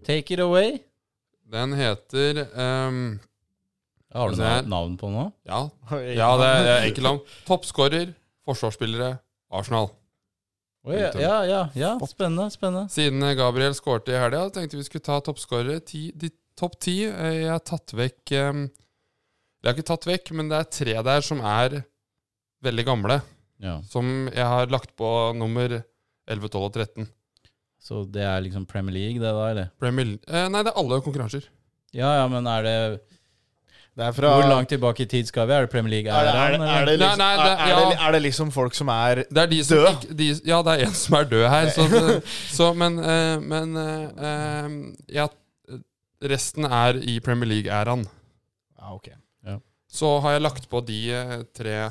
Speaker 1: Take it away.
Speaker 2: den heter ehm,
Speaker 1: Har du
Speaker 2: Altså,
Speaker 1: noe
Speaker 2: jeg-
Speaker 1: navn på nå?
Speaker 2: Ja, ja det, er- det er ikke langt. Toppskårer, forsvarsspillere, Arsenal.
Speaker 1: Oi, ja, ja, ja, ja, spennende, spennende.
Speaker 2: Siden Gabriel skårte i helga, tenkte vi skulle ta toppskårere. Ti- De topp ti. eh, Jeg har tatt vekk um, Jeg har ikke tatt vekk, men det er tre der som er veldig gamle.
Speaker 1: Ja,
Speaker 2: Som jeg har lagt på nummer 11, 12 og 13.
Speaker 1: Så det er liksom Premier League, det da, eller?
Speaker 2: Premier League eh, Nei, det er alle konkurranser.
Speaker 1: Ja, ja, men er det
Speaker 3: Det er fra
Speaker 1: Hvor langt tilbake i tid skal vi? Er det Premier League?
Speaker 3: Er det, er, det, er, det,
Speaker 1: eller?
Speaker 2: Nei,
Speaker 3: liksom,
Speaker 2: nei, det-
Speaker 3: er, er, det, er det liksom folk som er
Speaker 2: Det er de som
Speaker 3: Død?
Speaker 2: Ikke, de, ja, det er en som er død her. Så, det- så, men eh, men eh, eh, ja, resten er i Premier League-æraen.
Speaker 3: Ja, ok.
Speaker 2: Så har jeg lagt på de eh, tre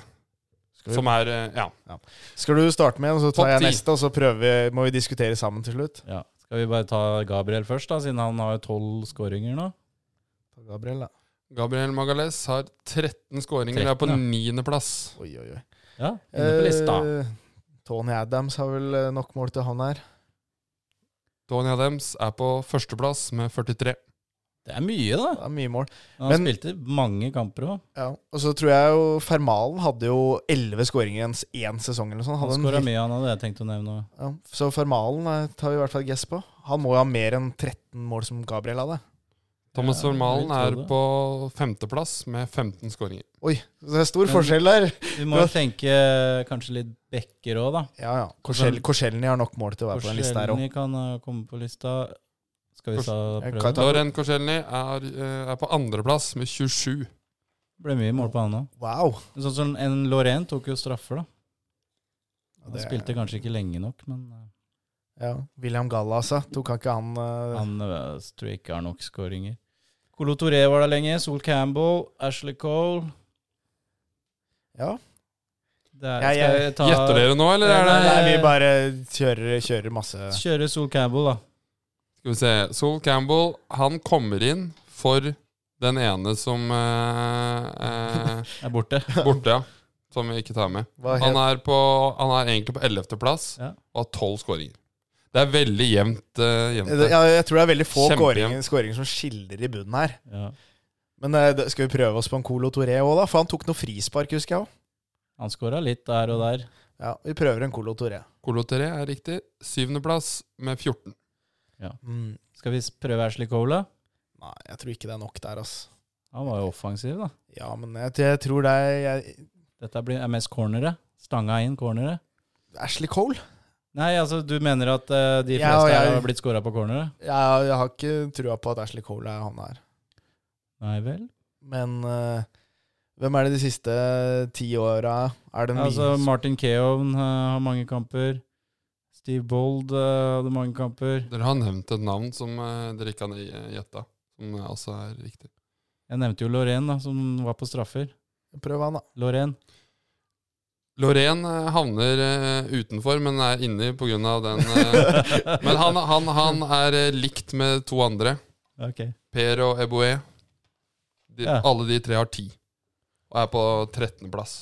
Speaker 3: Skal vi-
Speaker 2: som er eh, Ja.
Speaker 3: Skal du starte med en, og så
Speaker 2: Topp
Speaker 3: tar jeg
Speaker 2: ti.
Speaker 3: neste, og så prøver vi, må vi diskutere sammen til slutt?
Speaker 1: Ja. Skal vi bare ta Gabriel først, da, siden han har jo tolv skåringer nå?
Speaker 3: Gabriel, da.
Speaker 2: Gabriel Magalhaes har 13 skåringer. Det er på
Speaker 1: 13, ja.
Speaker 2: niendeplass.
Speaker 3: Oi, oi, oi.
Speaker 1: Ja, inne på lista.
Speaker 3: Eh, Tony Adams har vel eh, nok mål til han her.
Speaker 2: Tony Adams er på førsteplass med 43.
Speaker 1: Det er mye, da.
Speaker 3: Det er mye mål.
Speaker 1: Han
Speaker 3: Men-
Speaker 1: spilte mange kamper òg.
Speaker 3: Ja. Og så tror jeg jo Fermalen hadde jo elleve skåringer i ens én sesong eller noe sånt.
Speaker 1: Han
Speaker 3: Hadde en
Speaker 1: skåra
Speaker 3: helt-
Speaker 1: mye, han hadde jeg tenkt å nevne. også.
Speaker 3: Ja. Så Fermalen eh, tar vi i hvert fall guess på. Han må jo ha mer enn 13 mål som Gabriel hadde.
Speaker 2: Thomas
Speaker 1: Ja, jeg
Speaker 2: Vermalen
Speaker 1: vil
Speaker 2: er
Speaker 1: tro det.
Speaker 2: på femteplass med 15 skåringer.
Speaker 3: Oi, så det er stor
Speaker 1: Men-
Speaker 3: forskjell der.
Speaker 1: Vi må jo tenke eh, kanskje litt backer òg, da.
Speaker 3: Ja, ja. Korsell, Korselny har nok mål til å være på den lista her òg.
Speaker 1: Korselny kan eh, komme på lista. Skal vi
Speaker 2: Kors-
Speaker 1: ta
Speaker 3: Jeg
Speaker 1: prøve?
Speaker 3: kan
Speaker 1: Det
Speaker 3: ta-
Speaker 2: Lauren Korselny er, eh, er på andreplass med 27.
Speaker 1: ble mye mål på han òg.
Speaker 3: Wow.
Speaker 1: Sånn som en Lorraine tok jo straffer, da. Han
Speaker 3: Det er-
Speaker 1: spilte kanskje ikke lenge nok, men eh,
Speaker 3: Ja. William Galla, altså. Tok han ikke han eh,
Speaker 1: han eh, tror jeg ikke har nok skåringer. Colo Toré var der lenge. Sol Campbell, Ashley Cole
Speaker 3: Ja.
Speaker 1: det er, Skal
Speaker 3: Jeg- jeg-
Speaker 1: vi ta
Speaker 2: Gjetter dere nå, eller
Speaker 1: Nei,
Speaker 2: er det
Speaker 1: nei,
Speaker 3: Nei, vi bare kjører, kjører masse
Speaker 1: Kjøre Sol Campbell, da.
Speaker 2: Skal vi se. Sol Campbell, han kommer inn for den ene som eh, eh,
Speaker 1: Er borte.
Speaker 2: Borte, ja. Som vi ikke tar med.
Speaker 3: Hva
Speaker 2: Han
Speaker 3: het
Speaker 2: er, på, han er egentlig på 11.-plass
Speaker 1: Ja.
Speaker 2: og har 12 skåringer. Det er veldig jevnt. eh, jevnt her.
Speaker 3: ja, Jeg tror det er veldig få
Speaker 2: Kjempejevnt.
Speaker 3: skåringer, skåringer som skiller i bunnen her.
Speaker 1: Ja.
Speaker 3: Men eh, da skal vi prøve oss på en Colo Toré òg, da? For han tok noe frispark, husker jeg òg.
Speaker 1: Han skåra litt der og der.
Speaker 3: Ja, vi prøver en Colo Toré.
Speaker 2: Colotere er riktig. Syvendeplass med 14.
Speaker 3: Mm.
Speaker 1: Skal vi s- prøve Ashley Cole? da?
Speaker 3: Nei, jeg tror ikke det er nok der, ass.
Speaker 1: Han var jo offensiv, da.
Speaker 3: Ja, men jeg, jeg tror det er jeg,
Speaker 1: Dette blir, er mest cornere. Stanga inn cornere.
Speaker 3: Ashley Cole?
Speaker 1: Nei, altså du mener at eh, de
Speaker 3: Ja,
Speaker 1: fleste
Speaker 3: og jeg-
Speaker 1: her har blitt scora på cornere?
Speaker 3: Jeg, jeg har ikke trua på at Ashley Cole er han her.
Speaker 1: Nei vel?
Speaker 3: Men eh, hvem er det de siste ti åra? Er det mye
Speaker 1: Altså Martin Keown eh, har mange kamper. Steve Bold eh, hadde mange kamper.
Speaker 2: Dere har nevnt et navn som eh, dere ikke har eh, gjetta, som eh, altså er riktig.
Speaker 1: Jeg nevnte jo Lorraine, da, som var på straffer.
Speaker 3: Prøv han, da.
Speaker 1: Lorraine.
Speaker 2: Lorén eh, havner eh, utenfor, men er inni pga. den eh, Men han, han, han er eh, likt med to andre.
Speaker 1: Ok.
Speaker 2: Per og Eboué. De,
Speaker 1: Ja.
Speaker 2: Alle de tre har ti. Og er på 13.-plass.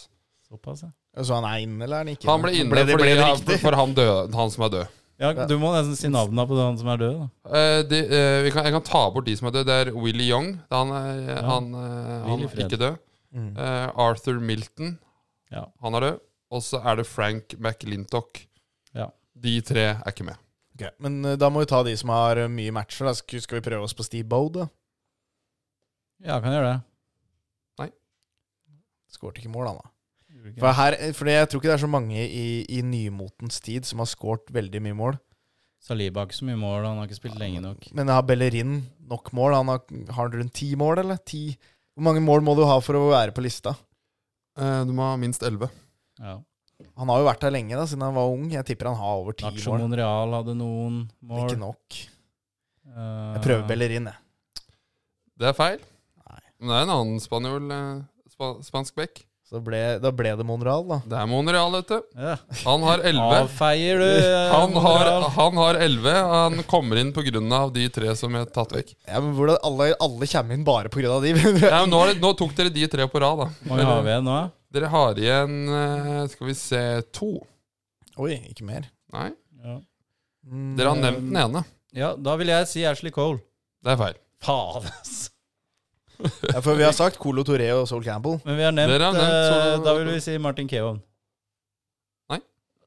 Speaker 1: Såpass, ja.
Speaker 3: Så Altså, han er inne, eller er han ikke
Speaker 2: Han ble inne
Speaker 3: Ble det, ble det
Speaker 2: fordi-
Speaker 3: riktig?
Speaker 2: for han, døde, han som er død.
Speaker 1: ja. Du må nesten si navnet på han som er død, da.
Speaker 2: Eh, de, eh, vi kan, jeg kan ta bort de som er døde. Det er Willy Young. Han er, han, eh,
Speaker 1: Hvil
Speaker 2: han
Speaker 1: i
Speaker 2: er
Speaker 1: fred.
Speaker 2: ikke død.
Speaker 3: Mm.
Speaker 2: Eh, Arthur Milton.
Speaker 1: Ja.
Speaker 2: Han er død. Og så er det Frank McLintock.
Speaker 1: Ja.
Speaker 2: De tre er ikke med.
Speaker 3: Ok, Men eh, da må vi ta de som har eh, mye matcher. Da. Sk- Skal vi prøve oss på Steve Bode? da?
Speaker 1: Ja, kan gjøre det.
Speaker 3: Skårte ikke mål, han da. For, her, eh, for jeg tror ikke det er så mange i, i nymotens tid som har skåret veldig mye mål.
Speaker 1: Saliba har ikke så mye mål, han har ikke spilt lenge nok.
Speaker 3: Men har Bellerin nok mål? Han har, har han rundt ti mål, eller? Ti? Hvor mange mål må du ha for å være på lista?
Speaker 2: Eh, du må ha minst elleve.
Speaker 1: Ja.
Speaker 3: Han har jo vært her lenge, da, siden han var ung. Jeg tipper han har over ti
Speaker 1: Nacho
Speaker 3: mål.
Speaker 1: Monreal hadde noen
Speaker 3: Men
Speaker 1: mål. Eh,
Speaker 3: Ikke nok. Jeg prøver
Speaker 2: Eh.
Speaker 3: Bellerin, jeg.
Speaker 2: Det er feil.
Speaker 3: Nei.
Speaker 2: Men det er en annen spanjol eh, spa, spansk bekk.
Speaker 3: Så ble, da ble det Monreal, da.
Speaker 2: Det er Monreal, vet du.
Speaker 1: Ja.
Speaker 2: Han har 11.
Speaker 1: Avfeier du eh,
Speaker 2: Han har,
Speaker 1: moral.
Speaker 2: han har 11. Han kommer inn pga. de tre som er tatt vekk.
Speaker 3: Ja, men hvordan, alle, alle kommer inn bare pga. de.
Speaker 2: Ja, men nå, er det, nå tok dere de tre på rad, da.
Speaker 1: Mange har vi igjen nå?
Speaker 2: Dere har igjen eh, Skal vi se to.
Speaker 3: Oi, ikke mer.
Speaker 2: Nei,
Speaker 1: Ja.
Speaker 3: Mm,
Speaker 2: dere har nevnt den ene.
Speaker 1: ja, da vil jeg si Ashley Cole.
Speaker 2: Det er feil.
Speaker 1: Faen, ass.
Speaker 3: ja, for vi har sagt Colo Toré og Sol Campbell.
Speaker 1: Men vi har nevnt,
Speaker 2: Dere har nevnt,
Speaker 1: eh,
Speaker 2: så-
Speaker 1: Da vil vi si Martin Keown.
Speaker 2: Nei.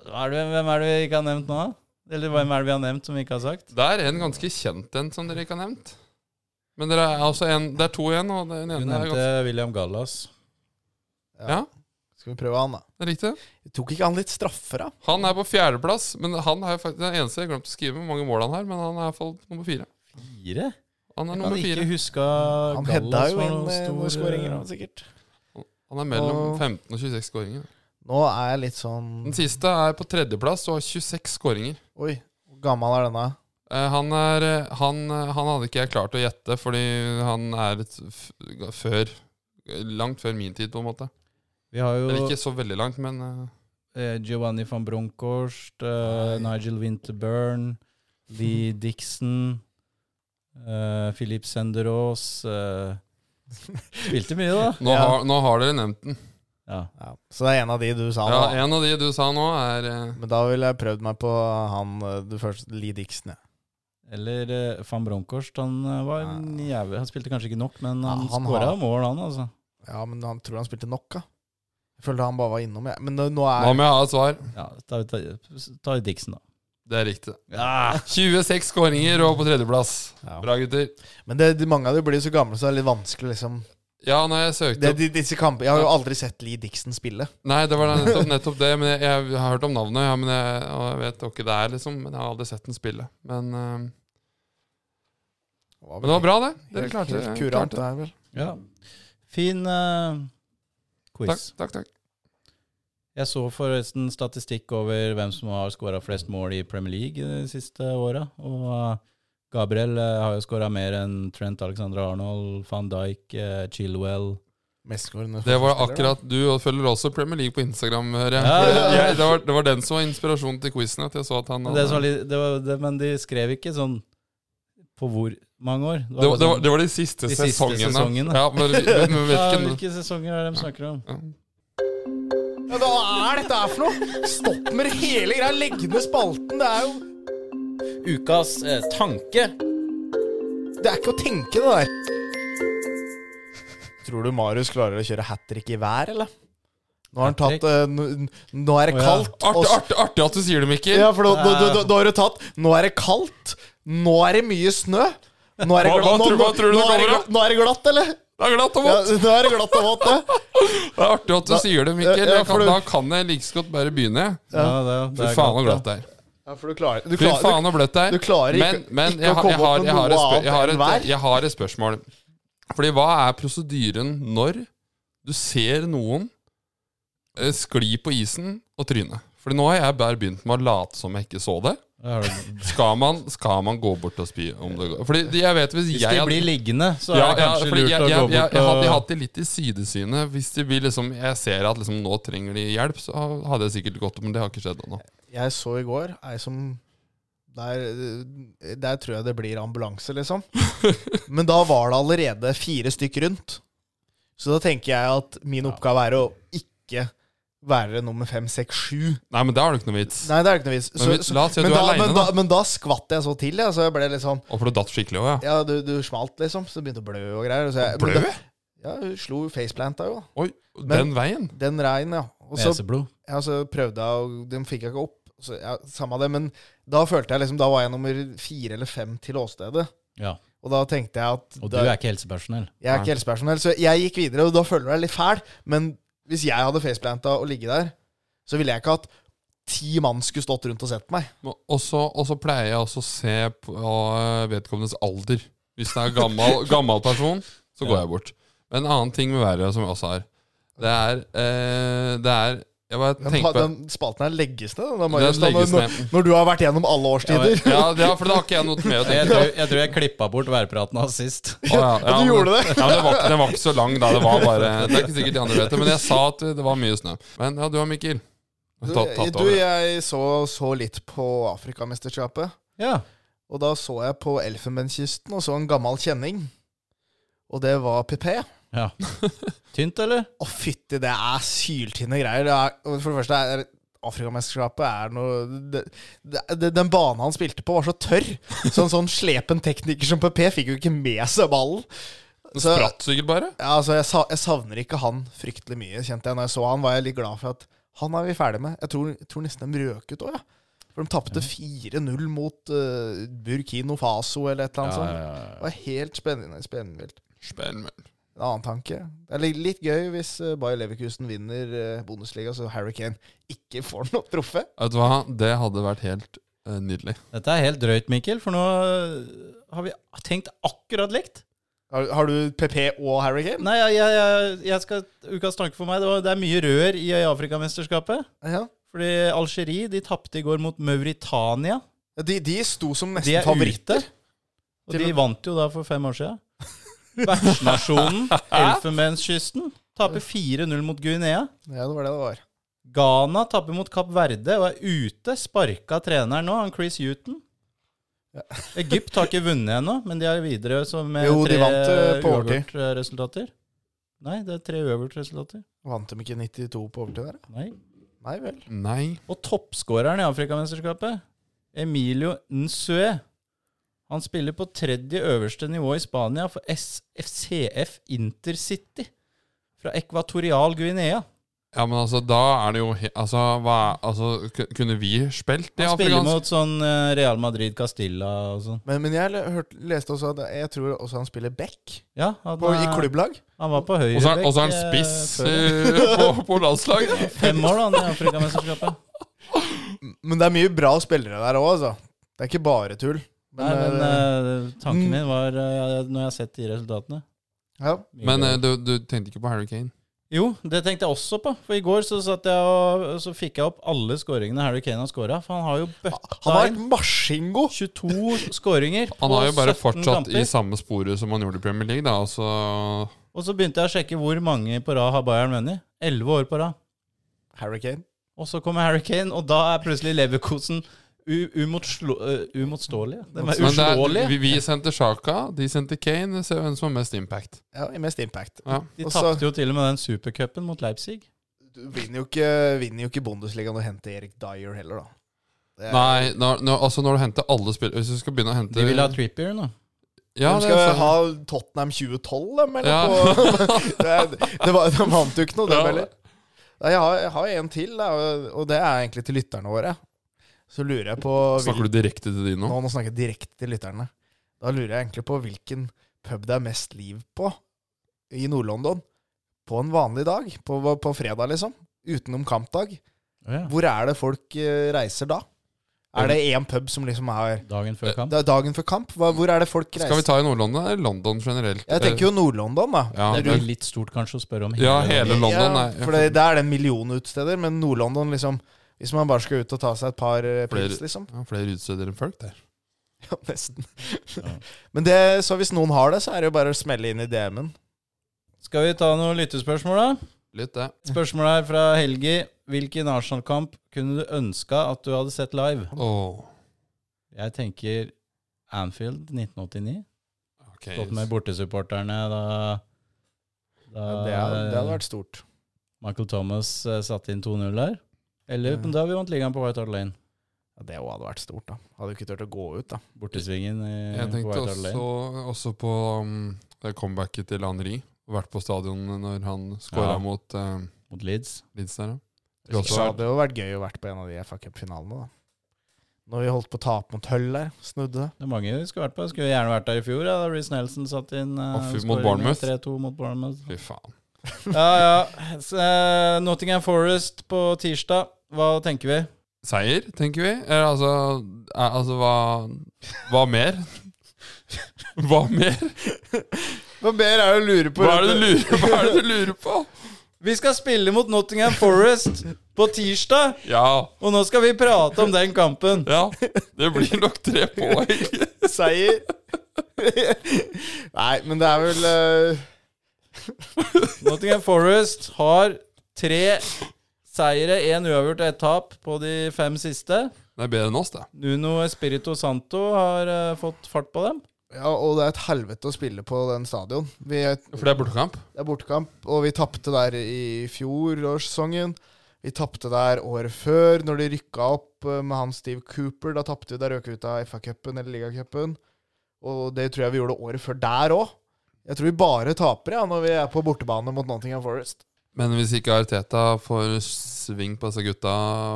Speaker 1: Hva er det, hvem er det vi ikke har nevnt nå, da? Eller hvem er det vi har nevnt som vi ikke har sagt?
Speaker 2: Det er en ganske kjent en som dere ikke har nevnt. Men dere er altså en, det er to igjen, og
Speaker 1: Du
Speaker 2: den ene er
Speaker 1: nevnte
Speaker 2: ganske
Speaker 1: William Gallas.
Speaker 2: Ja,
Speaker 3: Skal vi prøve han, da?
Speaker 2: det er riktig.
Speaker 3: Tok ikke han litt straffer, da?
Speaker 2: Han er på fjerdeplass, men han er faktisk den eneste jeg glemte å skrive hvor mange mål han har, men han er iallfall nummer fire.
Speaker 1: Fire?
Speaker 2: Han er
Speaker 1: Kan
Speaker 2: nummer
Speaker 1: ikke
Speaker 2: fire.
Speaker 1: huska
Speaker 3: Han hedda
Speaker 1: Gallas
Speaker 3: jo
Speaker 1: var
Speaker 3: inn
Speaker 1: noen
Speaker 3: eh,
Speaker 1: stor
Speaker 3: noen skåringer,
Speaker 1: eh,
Speaker 3: han, sikkert.
Speaker 2: Han er mellom
Speaker 3: Og-
Speaker 2: 15 og 26 skåringer.
Speaker 3: Nå er jeg litt sånn
Speaker 2: Den siste er på tredjeplass og har 26 skåringer.
Speaker 3: Oi, hvor gammel er denne?
Speaker 2: Eh, Han, er, eh, han, eh, han hadde ikke jeg klart å gjette, fordi han er et f før Langt før min tid, på en måte.
Speaker 1: Vi har
Speaker 2: Eller
Speaker 1: jo
Speaker 2: ikke så veldig langt, men eh,
Speaker 1: eh, Giovanni van Bronckhorst, eh, Nigel Winterburn, Lee Dixon, eh, Philip Senderås eh, Spilte mye, da.
Speaker 2: nå,
Speaker 3: Ja.
Speaker 2: har, nå har dere nevnt den.
Speaker 1: Ja.
Speaker 3: Ja, så det er en av de du sa nå.
Speaker 2: Ja,
Speaker 3: da.
Speaker 2: En av de du sa nå, er eh,
Speaker 3: Men da ville jeg prøvd meg på han eh, du første, Lee Dixon. Ja.
Speaker 1: Eller eh, van Bronckhorst. Han eh, var en jævlig Han spilte kanskje ikke nok, men han,
Speaker 3: Ja, han
Speaker 1: skåra
Speaker 3: har-
Speaker 1: mål, han, altså.
Speaker 3: ja, men han tror han spilte nok, da. Jeg følte han bare var innom, jeg. Men nå nå
Speaker 2: Nå
Speaker 3: er
Speaker 2: må jeg ha et svar.
Speaker 1: Ja, ta, ta, ta Dixon, da.
Speaker 2: Det er riktig.
Speaker 1: Ja.
Speaker 2: 26 skåringer og på tredjeplass.
Speaker 3: Ja.
Speaker 2: Bra, gutter.
Speaker 3: Men det, de, mange av dem blir jo så gamle, så det er litt vanskelig, liksom.
Speaker 2: Ja, når jeg søkte
Speaker 3: Det,
Speaker 2: opp
Speaker 3: de, disse kampene Jeg har jo aldri sett Lee Dixon spille.
Speaker 2: Nei, det var nettopp, nettopp det. Men jeg, jeg har hørt om navnet, ja, men jeg, og jeg vet jo ikke det er, liksom. Men jeg har aldri sett den spille. Men, eh, men det var bra, det. Dere
Speaker 3: Helt-
Speaker 2: klarte
Speaker 3: helt
Speaker 2: det.
Speaker 3: kurant,
Speaker 2: Klarte.
Speaker 3: det er vel.
Speaker 1: ja. Fin eh, quiz.
Speaker 2: Takk, takk, takk.
Speaker 1: Jeg så forresten statistikk over hvem som har skåra flest mål i Premier League de siste åra. Og eh, Gabriel eh, har jo skåra mer enn Trent Alexander Arnold, van Dijk, eh, Chilwell
Speaker 3: Mestskårende
Speaker 2: Det var
Speaker 3: forsvarsspiller, da.
Speaker 2: akkurat du, og følger også Premier League på Instagram, hører jeg.
Speaker 1: Ja, ja, ja.
Speaker 2: Jeg- Det, var, det var den som var inspirasjonen til quizen. At jeg så at han
Speaker 1: Men det som var litt, det var, det, men de skrev ikke sånn på hvor mange år.
Speaker 2: det, var,
Speaker 1: bare
Speaker 2: det, var,
Speaker 1: sånn,
Speaker 2: det var de siste
Speaker 1: De siste
Speaker 2: sesongene.
Speaker 1: sesongene.
Speaker 2: Ja, men, men, men
Speaker 1: ja,
Speaker 2: hvilken
Speaker 1: hvilke sesonger er det de snakker om?
Speaker 2: ja.
Speaker 3: Ja, Hva er dette her for noe? Stopp med det hele greia! Legg ned spalten! Det er jo
Speaker 1: Ukas tanke.
Speaker 3: Det er ikke å tenke, det der. Tror du Marius klarer å kjøre hat trick i vær, eller? Nå har han tatt eh, n- n- Nå er det
Speaker 1: Å, ja.
Speaker 3: kaldt. og
Speaker 2: Artig,
Speaker 3: s-
Speaker 2: artig, artig at du sier det, Mikkel.
Speaker 3: Ja, for da, da, da, da, da har du tatt Nå er det kaldt. Nå er det mye snø. Nå er det
Speaker 2: Hva- hva
Speaker 3: glatt, nå,
Speaker 2: tror-
Speaker 3: nå,
Speaker 2: hva tror du
Speaker 3: nå,
Speaker 2: det
Speaker 3: er det
Speaker 2: kommer
Speaker 3: glatt, nå er det glatt, eller?
Speaker 2: Det er glatt og
Speaker 3: Ja,
Speaker 2: vått.
Speaker 3: nå er det glatt og vått, det.
Speaker 2: Det er artig at du
Speaker 3: Da-
Speaker 2: sier det, Mikkel.
Speaker 3: Ja, ja,
Speaker 2: Jeg
Speaker 3: for
Speaker 2: kan,
Speaker 3: du-
Speaker 2: da kan jeg like så godt bare begynne.
Speaker 1: Ja, det,
Speaker 2: Fy
Speaker 1: det er
Speaker 2: faen så
Speaker 1: godt,
Speaker 2: glatt det er.
Speaker 3: Ja, for du klarer, du
Speaker 2: Fy
Speaker 3: klarer,
Speaker 2: faen så bløtt det er.
Speaker 3: du klarer ikke-
Speaker 2: men, men
Speaker 3: ikke
Speaker 2: jeg,
Speaker 3: å
Speaker 2: har- jeg,
Speaker 3: komme
Speaker 2: har,
Speaker 3: opp med
Speaker 2: jeg, har et
Speaker 3: noe
Speaker 2: spør,
Speaker 3: annet
Speaker 2: jeg, har
Speaker 3: enn
Speaker 2: et,
Speaker 3: vær.
Speaker 2: jeg har et spørsmål. Fordi hva er prosedyren når du ser noen eh, skli på isen og tryne? Fordi nå har jeg bare begynt med å late som jeg ikke så det.
Speaker 1: det er det.
Speaker 2: Skal man, skal man gå bort og spy om det går? Fordi jeg vet hvis,
Speaker 1: Hvis
Speaker 2: jeg
Speaker 1: de
Speaker 2: hadde-
Speaker 1: blir liggende, så er
Speaker 2: ja,
Speaker 1: det
Speaker 2: ja,
Speaker 1: kanskje
Speaker 2: fordi
Speaker 1: lurt
Speaker 2: jeg,
Speaker 1: å
Speaker 2: jeg,
Speaker 1: gå
Speaker 2: jeg, jeg,
Speaker 1: bort og
Speaker 2: hadde jeg hatt det litt i sidesynet. Hvis det blir liksom, jeg ser at liksom, nå trenger de hjelp, så hadde jeg sikkert gått opp, men det har ikke skjedd ennå.
Speaker 3: Jeg så i går ei som der, der tror jeg det blir ambulanse, liksom. Men da var det allerede fire stykk rundt. Så da tenker jeg at min oppgave er å ikke være nummer fem, seks, sju.
Speaker 2: Nei, men da har du ikke noe vits.
Speaker 3: Nei, det er ikke noe vits.
Speaker 2: Men vi- la oss si at
Speaker 3: men,
Speaker 2: du er
Speaker 3: da,
Speaker 2: alene,
Speaker 3: men, da,
Speaker 2: da.
Speaker 3: men da skvatt jeg så til, jeg. Så jeg ble litt sånn
Speaker 2: Og for du datt skikkelig òg, ja.
Speaker 3: Ja, du, du smalt, liksom. Så det begynte å blø og greier. og Så jeg, men
Speaker 2: Blø?
Speaker 3: da- Ja, hun slo faceplanta, jo.
Speaker 2: Oi, den
Speaker 3: Men-
Speaker 2: veien?
Speaker 3: Den rein, ja. Og så
Speaker 1: Neseblod.
Speaker 3: ja, så prøvde jeg, og dem fikk jeg ikke opp. Så, ja, samme det, men da følte jeg liksom Da var jeg nummer fire eller fem til åstedet.
Speaker 1: Ja.
Speaker 3: Og da tenkte jeg at
Speaker 1: Og du
Speaker 3: da,
Speaker 1: er ikke helsepersonell.
Speaker 3: Jeg er ikke helsepersonell, så jeg gikk videre, og da føler du deg litt fæl. Men hvis jeg hadde faceplanta og ligget der, så ville jeg ikke at ti mann skulle stått rundt og sett på meg.
Speaker 2: Og så og så pleier jeg også å se på øh, vedkommendes alder. Hvis det er gammel, gammel person, så går
Speaker 1: Ja.
Speaker 2: jeg bort. En annen ting med været som jeg også har, det er, eh, det er Jeg bare
Speaker 3: Den,
Speaker 2: tenker på
Speaker 3: den spalten her legges ned, da,
Speaker 2: Den
Speaker 3: Marius. da,
Speaker 2: legges
Speaker 3: når,
Speaker 2: ned.
Speaker 3: når du har vært gjennom alle årstider.
Speaker 2: ja, det- ja, for da har ikke jeg noe med å
Speaker 1: Jeg
Speaker 2: tenke.
Speaker 1: tror jeg, tror jeg klippa bort værpraten hans sist.
Speaker 2: Å, ja, ja,
Speaker 3: du gjorde det.
Speaker 2: men- Ja, men det var, ikke- den var ikke så lang da. Det var bare Det er ikke sikkert de andre vet det, men jeg sa at det var mye snø. Men ja, du har Mikkel.
Speaker 3: Du,
Speaker 2: Tatt, tatt
Speaker 3: du,
Speaker 2: over.
Speaker 3: jeg så, så litt på Afrikamesterskapet.
Speaker 1: Ja.
Speaker 3: Og da så jeg på Elfenbenskysten og så en gammel kjenning. Og det var Pipé.
Speaker 1: ja. Tynt, eller?
Speaker 3: Å, fytti, det er syltynne greier. Det er, og for det første er Afrikamesterskapet er noe det, det, det, Den banen han spilte på, var så tørr. Så en sånn slepen tekniker som Pipé fikk jo ikke med seg ballen.
Speaker 2: Den
Speaker 3: Så-
Speaker 2: spratt sikkert bare.
Speaker 3: Ja, altså, jeg, sa, jeg savner ikke han fryktelig mye, kjente jeg. Når jeg så han, var jeg litt glad for at han er vi ferdig med. Jeg tror, jeg tror nesten de røk ut òg, ja. For de tapte 4-0 mot eh, Burkino Faso eller et
Speaker 1: Sånn.
Speaker 3: eller annet sånt. Det var helt spennende. spennende vilt.
Speaker 2: Spennende.
Speaker 3: En annen tanke. Det er litt- litt gøy hvis uh, Bayer Leverkusen vinner eh, Bundesliga, så Harry Kane ikke får noe troffe.
Speaker 2: Vet du hva, det hadde vært helt eh, nydelig.
Speaker 1: Dette er helt drøyt, Mikkel, for nå eh, har vi tenkt akkurat likt.
Speaker 3: Har, har du PP og Harry Kane?
Speaker 1: Nei, jeg, jeg, jeg, jeg skal, ukas tanke for meg, det, var, det er mye rør i Afrikamesterskapet.
Speaker 3: Ja.
Speaker 1: Fordi Algerie de tapte i går mot Mauritania.
Speaker 3: De, de sto som
Speaker 1: De
Speaker 3: nesten
Speaker 1: er
Speaker 3: favoritter.
Speaker 1: ute. Og de vant jo da for fem år siden. Vertsnasjonen Elfenbenskysten taper 4-0 mot Guinea.
Speaker 3: Ja, det var det det var.
Speaker 1: Ghana taper mot Kapp Verde og er ute. Sparka treneren nå, han Chris Huton. Egypt har ikke vunnet ennå, men de er videre så med
Speaker 3: Jo, de
Speaker 1: tre
Speaker 3: vant, eh, på overtid.
Speaker 1: uavgjort-resultater. Nei, det er tre uavgjort-resultater.
Speaker 3: Vant de ikke 92 på overtid der? da?
Speaker 1: Nei.
Speaker 3: Nei vel.
Speaker 2: Nei.
Speaker 1: Og toppskåreren i Afrikamesterskapet, Emilio Nsue, han spiller på tredje øverste nivå i Spania for SFCF Intercity fra Ekvatorial Guinea.
Speaker 2: Ja, men altså, da er det jo he- Altså, hva, altså ku- kunne vi spilt i
Speaker 1: Han spiller
Speaker 2: afrikansk?
Speaker 1: mot sånn eh, Real Madrid Castilla og sånn.
Speaker 3: Men, men jeg le- hørte, leste også at jeg tror også han spiller back
Speaker 1: Ja, han,
Speaker 3: på, i
Speaker 1: er-
Speaker 3: klubblag.
Speaker 1: han var på
Speaker 2: Og så er-
Speaker 1: høyrebekk.
Speaker 2: og så er han
Speaker 1: eh,
Speaker 2: spiss
Speaker 1: før.
Speaker 2: eh, på, på landslaget.
Speaker 1: Fem år, da, han i Afrikamesterskapet.
Speaker 3: Men det er mye bra spillere der òg, altså. Det er ikke bare tull. Men,
Speaker 1: Nei, men
Speaker 3: eh,
Speaker 1: eh, tanken min var, eh, når jeg har sett de resultatene
Speaker 3: ja.
Speaker 2: Men eh, du, du tenkte ikke på Harry Kane?
Speaker 1: Jo, det tenkte jeg også på. For i går så, satt jeg og, så fikk jeg opp alle skåringene Harry Kane har skåra. For han har jo
Speaker 3: Han
Speaker 1: bøtta
Speaker 3: har vært
Speaker 1: inn
Speaker 3: maskingo!
Speaker 1: 22 skåringer på
Speaker 2: Han har jo bare
Speaker 1: 17
Speaker 2: fortsatt
Speaker 1: kamper.
Speaker 2: i samme sporet som han gjorde i Premier League, da. Og så
Speaker 1: Og så begynte jeg å sjekke hvor mange på rad har Bayern vunnet. 11 år på rad.
Speaker 3: Harry Kane.
Speaker 1: Og så kommer Harry Kane, og da er plutselig Leverkosen umotståelige. eh, De er
Speaker 2: Men det er,
Speaker 1: uslåelige.
Speaker 2: vi, vi sendte Shaka, de sendte Kane. Se hvem som har mest impact.
Speaker 3: Ja, i mest impact.
Speaker 2: Ja.
Speaker 1: De
Speaker 3: Og så-
Speaker 1: tapte jo til og med den supercupen mot Leipzig.
Speaker 3: Du vinner jo ikke, vinner jo ikke Bundesligaen å hente Erik Dyer heller, da. Det er-
Speaker 2: Nei, når, når, altså når du henter alle spillere Hvis du skal begynne å hente
Speaker 1: De ville ha Trippier nå.
Speaker 2: ja,
Speaker 3: de
Speaker 2: det er
Speaker 3: skal
Speaker 2: sant.
Speaker 3: ha Tottenham 2012, dem, eller?
Speaker 2: Ja.
Speaker 3: På, det, er- det var, de vant jo ikke noe, dem
Speaker 2: Ja.
Speaker 3: heller. Nei, Jeg har, jeg har en til, da, og- og det er egentlig til lytterne våre. Så lurer jeg på
Speaker 2: Snakker du direkte til de nå?
Speaker 3: Nå, nå snakker jeg direkte til lytterne. Da lurer jeg egentlig på hvilken pub det er mest liv på i Nord-London. På en vanlig dag. På, på fredag, liksom. Utenom kampdag. Hvor er det folk eh, reiser da? Er det én pub som liksom er
Speaker 1: Dagen før kamp.
Speaker 3: Det er dagen før kamp? Hva, hvor er det folk reiser?
Speaker 2: Skal vi ta i Nord-London eller London generelt? Eh,
Speaker 3: Jeg tenker jo Nord-London, da.
Speaker 2: ja,
Speaker 1: Det
Speaker 2: det,
Speaker 1: blir litt stort kanskje å spørre om
Speaker 2: Ja, hele- London, nei.
Speaker 3: for det, der er det en million utesteder, men Nord-London, liksom Hvis man bare skal ut og ta seg et par eh, pils,
Speaker 2: Flere-
Speaker 3: liksom.
Speaker 2: ja, Flere utsteder enn folk der.
Speaker 3: Ja, nesten. Men det, så hvis noen har det, så er det jo bare å smelle inn i DM-en.
Speaker 1: Skal vi ta noen lyttespørsmål, da?
Speaker 2: Litt det.
Speaker 1: Spørsmål her fra Helgi. Hvilken Arsenal-kamp kunne du ønska at du hadde sett live?
Speaker 2: Åh,
Speaker 1: Jeg tenker Anfield 1989.
Speaker 2: ok.
Speaker 1: Stått med bortesupporterne da, da
Speaker 3: Det, hadde-
Speaker 1: Eh,
Speaker 3: det hadde vært stort.
Speaker 1: Michael Thomas eh, satte inn 2-0 der. Eller
Speaker 3: Ja.
Speaker 1: men da vi vant ligaen på White Hart Lane.
Speaker 3: Ja, det òg hadde vært stort, da. Hadde jo ikke turt å gå ut, da.
Speaker 1: Bortesvingen i,
Speaker 2: Jeg
Speaker 1: på
Speaker 2: tenkte
Speaker 1: White Hart Lane.
Speaker 2: også, også på um, det comebacket til Henri. Vært på stadion når han skåra
Speaker 1: Ja.
Speaker 2: mot um,
Speaker 1: Mot Leeds.
Speaker 2: Leeds der.
Speaker 3: Det
Speaker 2: Skulle også vært
Speaker 3: hadde jo vært gøy å vært på en av de FA Cup-finalene, da. Når vi holdt på å tape mot Hull der, snudde det.
Speaker 1: Det er mange vi skulle vært på. Skulle gjerne vært der i fjor. Ja, da Reece Nelson satt inn eh,
Speaker 2: Å, fy, mot
Speaker 1: skåringen,
Speaker 2: Bournemouth.
Speaker 1: 3-2 mot Bournemouth.
Speaker 2: Fy faen.
Speaker 1: Ja, ja. Så, eh, Nottingham Forest på tirsdag. Hva tenker vi?
Speaker 2: Seier, tenker vi. Eller altså, eh, altså hva, hva mer? Hva mer?
Speaker 3: Hva mer er det å lure på?
Speaker 2: Hva er det du lurer på? Hva er det du lurer på?
Speaker 1: Vi skal spille mot Nottingham Forest på tirsdag,
Speaker 2: Ja,
Speaker 1: og nå skal vi prate om den kampen.
Speaker 2: ja. Det blir nok tre poeng.
Speaker 3: Seier. Nei, men det er vel eh,
Speaker 1: Nottingham Forest har tre seire, én uavgjort og ett tap på de fem siste.
Speaker 2: Det er bedre enn oss, det.
Speaker 1: Nuno Espirito Santo har eh, fått fart på dem.
Speaker 3: Ja, og det er et helvete å spille på den stadion. Vi,
Speaker 2: For det er bortekamp.
Speaker 3: det er bortekamp, og vi tapte der i fjorårssesongen. Vi tapte der året før, når de rykka opp eh, med han Steve Cooper. Da tapte vi, da røk vi ut av FA-cupen eller ligacupen. Og det tror jeg vi gjorde året før der òg. Jeg tror vi bare taper ja, når vi er på bortebane mot Nottingham Forest.
Speaker 2: Men hvis ikke Arteta får sving på disse gutta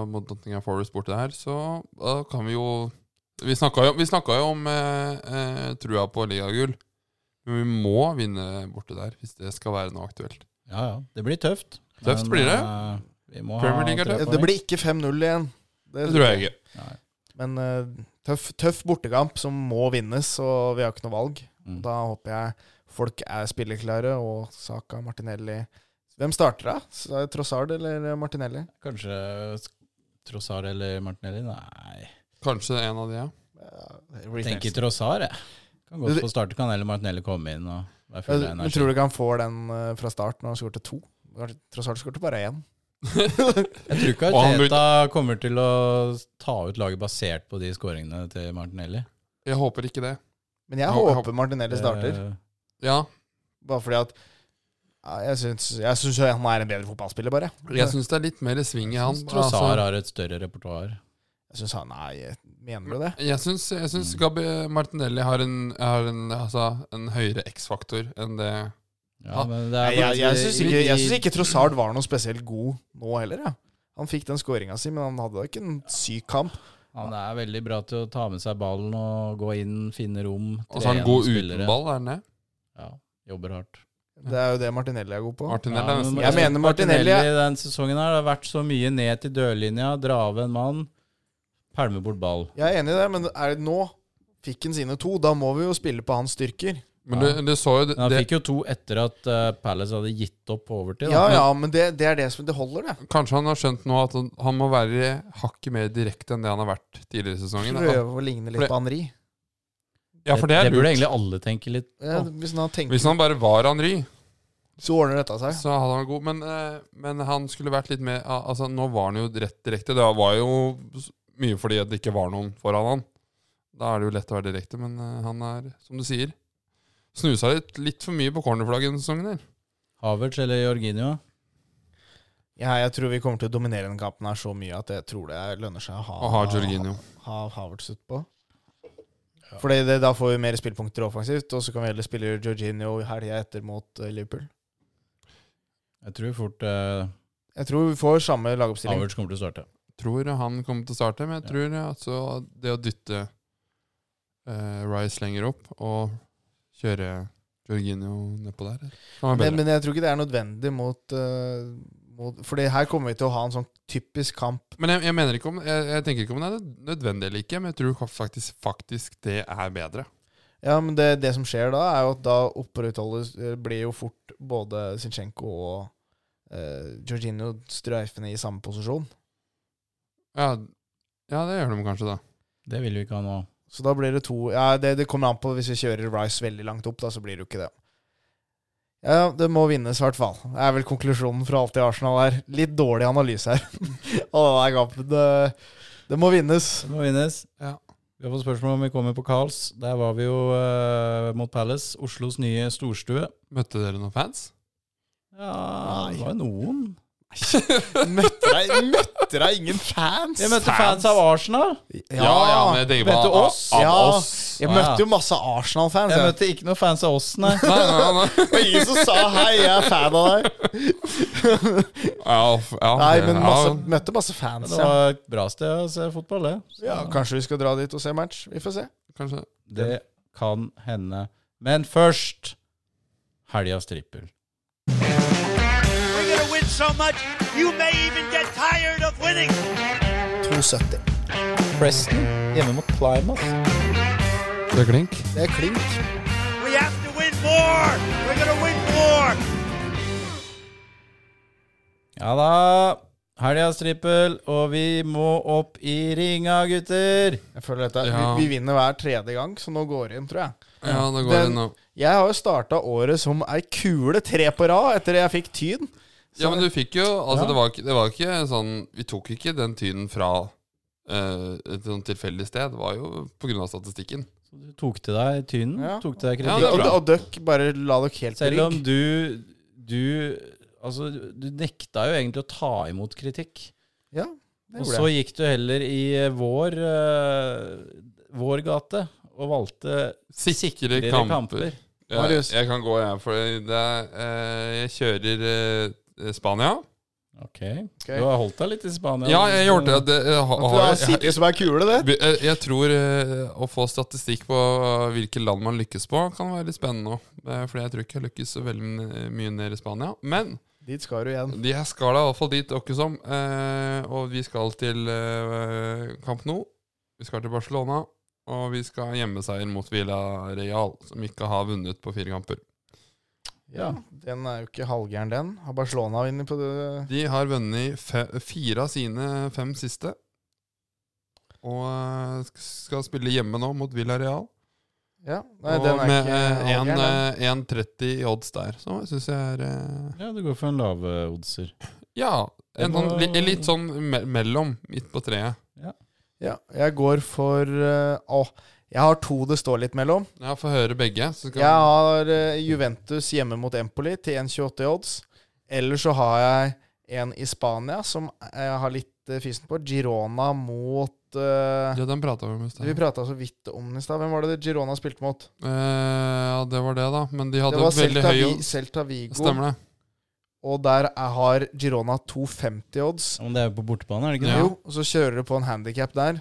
Speaker 2: mot Nottingham Forest borte der, så da kan vi jo Vi snakka jo, vi snakka jo om eh, eh, trua på ligagull. Men vi må vinne borte der hvis det skal være noe aktuelt.
Speaker 1: Ja, ja. Det blir tøft.
Speaker 2: Tøft blir det.
Speaker 1: eh, vi må
Speaker 2: Premier League er
Speaker 1: tre
Speaker 2: tøft.
Speaker 1: poeng.
Speaker 3: Det blir ikke 5-0 igjen.
Speaker 2: Det tror jeg ikke.
Speaker 1: Nei.
Speaker 3: Men eh, tøff, tøff bortekamp som må vinnes, og vi har ikke noe valg.
Speaker 1: Mm.
Speaker 3: Da håper jeg folk er spilleklare, og Saka, Martinelli Hvem starter da? S- Trossard eller eh, Martinelli?
Speaker 1: Kanskje Trossard eller Martinelli? Nei,
Speaker 2: Kanskje en av de, ja.
Speaker 1: tenker Trossard, jeg. Kan godt få starte, kan heller Martinelli komme inn og være full av
Speaker 3: Men
Speaker 1: energi.
Speaker 3: tror du ikke han får den eh, fra start når han skårte to? Kanskje- Trossard skårte bare én.
Speaker 1: Jeg tror ikke
Speaker 2: Og han
Speaker 1: Arteta kommer til å ta ut laget basert på de skåringene til Martinelli.
Speaker 2: Jeg håper ikke det.
Speaker 3: Men jeg
Speaker 2: Ja, jeg håper-
Speaker 3: håper Martinelli starter,
Speaker 1: Eh,
Speaker 2: Ja,
Speaker 3: bare fordi at ja, jeg syns, jeg syns jo han er en bedre fotballspiller, bare.
Speaker 2: jeg syns det er litt mer sving i han. Altså,
Speaker 1: Trossard har et større repertoar.
Speaker 3: Jeg syns han er Mener du det?
Speaker 2: Jeg syns, jeg syns
Speaker 1: Mm.
Speaker 2: Gabi Martinelli har en, har en, altså, en høyere X-faktor enn det
Speaker 1: Ja,
Speaker 2: Ja.
Speaker 1: men eh, det
Speaker 3: Nei,
Speaker 1: er
Speaker 3: jeg jeg syns ikke, jeg syns
Speaker 1: i-
Speaker 3: ikke Trossard var noe spesielt god nå heller. Ja. Han fikk den skåringa si, men han hadde da ikke en syk kamp.
Speaker 1: Han er veldig bra til å ta med seg ballen og gå inn, finne rom.
Speaker 2: Og så er altså, han
Speaker 1: tre
Speaker 2: god
Speaker 1: gjennomspillere.
Speaker 2: uten ball, er han det?
Speaker 1: Ja, jobber hardt.
Speaker 3: Det er jo det Martinelli er god på.
Speaker 2: Martinelli
Speaker 1: Ja,
Speaker 2: er nesten
Speaker 1: men
Speaker 3: Jeg mener Martinelli-
Speaker 1: Den sesongen her det har vært så mye ned til dørlinja, dra av en mann, pælme bort ball.
Speaker 3: Jeg er enig i det, men er det nå fikk han sine to. Da må vi jo spille på hans styrker.
Speaker 2: Men du, du så jo det,
Speaker 1: Men han
Speaker 2: det,
Speaker 1: fikk jo to etter at eh, Palace hadde gitt opp på overtid.
Speaker 3: Ja,
Speaker 1: da.
Speaker 3: ja, men det, det er det som det holder, det.
Speaker 2: Kanskje han har skjønt nå at han- han må være hakket mer direkte enn det han har vært tidligere i sesongen. da.
Speaker 3: Prøve å ligne
Speaker 2: For
Speaker 3: litt
Speaker 2: det-
Speaker 3: på Henri.
Speaker 2: Ja, for det er
Speaker 1: det burde
Speaker 2: lurt.
Speaker 1: egentlig alle tenke litt
Speaker 3: Ja, hvis han hadde tenkt,
Speaker 2: Hvis han bare var Henri,
Speaker 3: så ordner dette seg.
Speaker 2: så hadde han god Men, eh, men han skulle vært litt mer al- Altså, nå var han jo rett direkte. Det var jo s- mye fordi at det ikke var noen foran han. Da er det jo lett å være direkte, men eh, han er, som du sier Snusa litt, litt for mye på cornerflagget denne sesongen her.
Speaker 1: Havertz eller Jorginho.
Speaker 3: Ja, jeg tror vi kommer til å dominere den kampen her så mye at jeg tror det lønner seg å ha,
Speaker 2: Og har Jorginho.
Speaker 3: ha Havertz utpå. Fordi det, da får vi mer spillpunkter offensivt, og så kan vi heller spille Jorginho helga etter mot eh, Liverpool.
Speaker 1: Jeg tror fort eh,
Speaker 3: Jeg tror vi får samme lagoppstilling.
Speaker 1: Havertz kommer til å starte.
Speaker 2: Tror han kommer til å starte, men jeg tror eh, altså det å dytte eh, Rice lenger opp og kjøre Jorginho nedpå der kan være bedre.
Speaker 3: Men, men jeg tror ikke det er nødvendig mot, eh, mot Fordi her kommer vi til å ha en sånn typisk kamp.
Speaker 2: Men jeg, jeg mener ikke om jeg, jeg tenker ikke om det er nødvendig eller ikke, men jeg tror faktisk, faktisk det er bedre.
Speaker 3: Ja, men det, det som skjer da, er jo at da opprettholdes eh, blir jo fort både Zinchenko og eh, Jorginho streifende i samme posisjon.
Speaker 2: Ja, ja det gjør de kanskje, da.
Speaker 1: Det vil vi ikke ha nå.
Speaker 3: Så da blir det to Ja, det, det kommer an på hvis vi kjører Rice veldig langt opp, da, så blir det jo ikke det. Ja, det må vinnes, i hvert fall. Det er vel konklusjonen fra alt i Arsenal her. Litt dårlig analyse her. Å, det er gammel. Det, det må vinnes.
Speaker 1: Det må vinnes.
Speaker 2: Ja.
Speaker 1: Vi har fått spørsmål om vi kommer på Carls. Der var vi jo eh, mot Palace, Oslos nye storstue.
Speaker 2: Møtte dere noen fans?
Speaker 1: Ja,
Speaker 3: Nei.
Speaker 1: det var jo noen.
Speaker 3: Møtte deg, møtte deg ingen fans?
Speaker 1: Jeg møtte fans av Arsenal.
Speaker 3: Ja,
Speaker 2: jeg tenker
Speaker 1: Møtte
Speaker 2: av-
Speaker 1: oss?
Speaker 2: Av,
Speaker 3: Ja.
Speaker 2: oss.
Speaker 3: Jeg møtte jo masse Arsenal-fans.
Speaker 1: Jeg
Speaker 3: jeg.
Speaker 1: møtte ikke noen fans av oss, nei.
Speaker 2: Nei, nei, nei.
Speaker 3: Det var ingen som sa 'hei, jeg er fan av deg'.
Speaker 2: Ja, f- ja,
Speaker 3: Nei, men
Speaker 2: ja,
Speaker 3: masse, møtte masse fans.
Speaker 1: Det
Speaker 3: Ja.
Speaker 1: var et bra sted å se fotball, det.
Speaker 3: ja, Kanskje vi skal dra dit og se match. Vi får se.
Speaker 2: Kanskje.
Speaker 1: Det kan hende. Men først helgas trippel.
Speaker 4: We're going to win so much, you may even get tired of winning.
Speaker 3: 2,70.
Speaker 1: Preston hjemme mot Plymouth.
Speaker 2: Det er klink.
Speaker 3: Det er klink.
Speaker 4: We have to win more. We're going to win more.
Speaker 1: Ja da. Helgas trippel, og vi må opp i ringa, gutter!
Speaker 3: Jeg føler dette,
Speaker 2: Ja.
Speaker 3: vi, vi vinner hver tredje gang, så nå går det inn, tror jeg.
Speaker 2: Ja, da går
Speaker 3: Den-
Speaker 2: det nå.
Speaker 3: Jeg har jo starta året som ei kule tre på rad etter jeg fikk tyn.
Speaker 2: Ja, men du fikk jo Altså,
Speaker 3: Ja.
Speaker 2: det, var, ikke- det var ikke sånn Vi tok ikke den tynen fra eh, et sånn tilfeldig sted. Det var jo på grunn av statistikken.
Speaker 1: Du tok til deg tynen,
Speaker 3: Ja.
Speaker 1: tok til deg
Speaker 2: Ja, det er
Speaker 1: kritikken.
Speaker 3: og,
Speaker 2: bra.
Speaker 3: og døkk bare la dere helt
Speaker 1: Selv om
Speaker 3: trygge.
Speaker 1: du, du Altså, du nekta jo egentlig å ta imot kritikk.
Speaker 3: Ja, det
Speaker 1: Og
Speaker 3: gjorde
Speaker 1: så
Speaker 3: jeg.
Speaker 1: gikk du heller i eh, vår, eh, vår gate og valgte
Speaker 2: Sikre
Speaker 1: dere
Speaker 2: kamper.
Speaker 1: kamper.
Speaker 2: Ja,
Speaker 3: Marius.
Speaker 2: jeg kan gå, jeg. For det er, eh, jeg kjører eh, Spania.
Speaker 1: Ok. Du har holdt deg litt i Spania.
Speaker 2: Ja, jeg gjorde det. det jeg, har,
Speaker 3: Men Det er City som er kule, det.
Speaker 2: jeg, jeg, jeg tror eh, å få statistikk på eh, hvilke land man lykkes på, kan være litt spennende òg. For jeg tror ikke jeg lykkes så veldig n- eh, mye nede i Spania. Men
Speaker 3: Dit skal du igjen.
Speaker 2: de her skal da iallfall dit, åkke som. Eh, og vi skal til eh, Camp Nou. Vi skal til Barcelona. Og vi skal ha hjemmeseier mot Villa Real, som ikke har vunnet på fire kamper.
Speaker 3: Ja, Den er jo ikke halvgæren, den. Har Barcelona vunnet på det?
Speaker 2: De har vunnet fe- fire av sine fem siste. Og eh, sk- skal spille hjemme nå mot Villarreal.
Speaker 3: Ja, nei,
Speaker 2: og
Speaker 3: den er
Speaker 2: med
Speaker 3: ikke
Speaker 2: eh, en,
Speaker 3: halvgæren. den.
Speaker 2: eh, 1,30 i odds der. Så syns jeg er eh,
Speaker 1: Ja, du går for en lave oddser.
Speaker 2: Ja,
Speaker 1: Det
Speaker 2: en
Speaker 1: må-
Speaker 2: sånn, li- litt sånn me mellom, midt på treet.
Speaker 3: Ja, jeg går for eh, Å, jeg har to det står litt mellom.
Speaker 2: Ja, Få høre begge. Så skal
Speaker 3: Jeg har eh, Juventus hjemme mot Empoli til 1,28 i odds. Eller så har jeg en i Spania som jeg har litt eh, fysen på. Girona mot eh,
Speaker 2: ja, den prata vi om i sted.
Speaker 3: Vi prata så vidt om den i stad. Hvem var det Girona spilte mot?
Speaker 2: Eh, ja, det var det, da. Men de
Speaker 3: Det
Speaker 2: hadde
Speaker 3: var
Speaker 2: veldig
Speaker 3: Celta,
Speaker 2: høy
Speaker 3: Vi,
Speaker 2: odds.
Speaker 3: Celta Vigo.
Speaker 2: Stemmer det.
Speaker 3: Og der er, har Girona 2,50 odds.
Speaker 1: Ja, men det er jo på bortebane, er det ikke det?
Speaker 2: Ja.
Speaker 3: Jo, og så kjører du på en handikap der.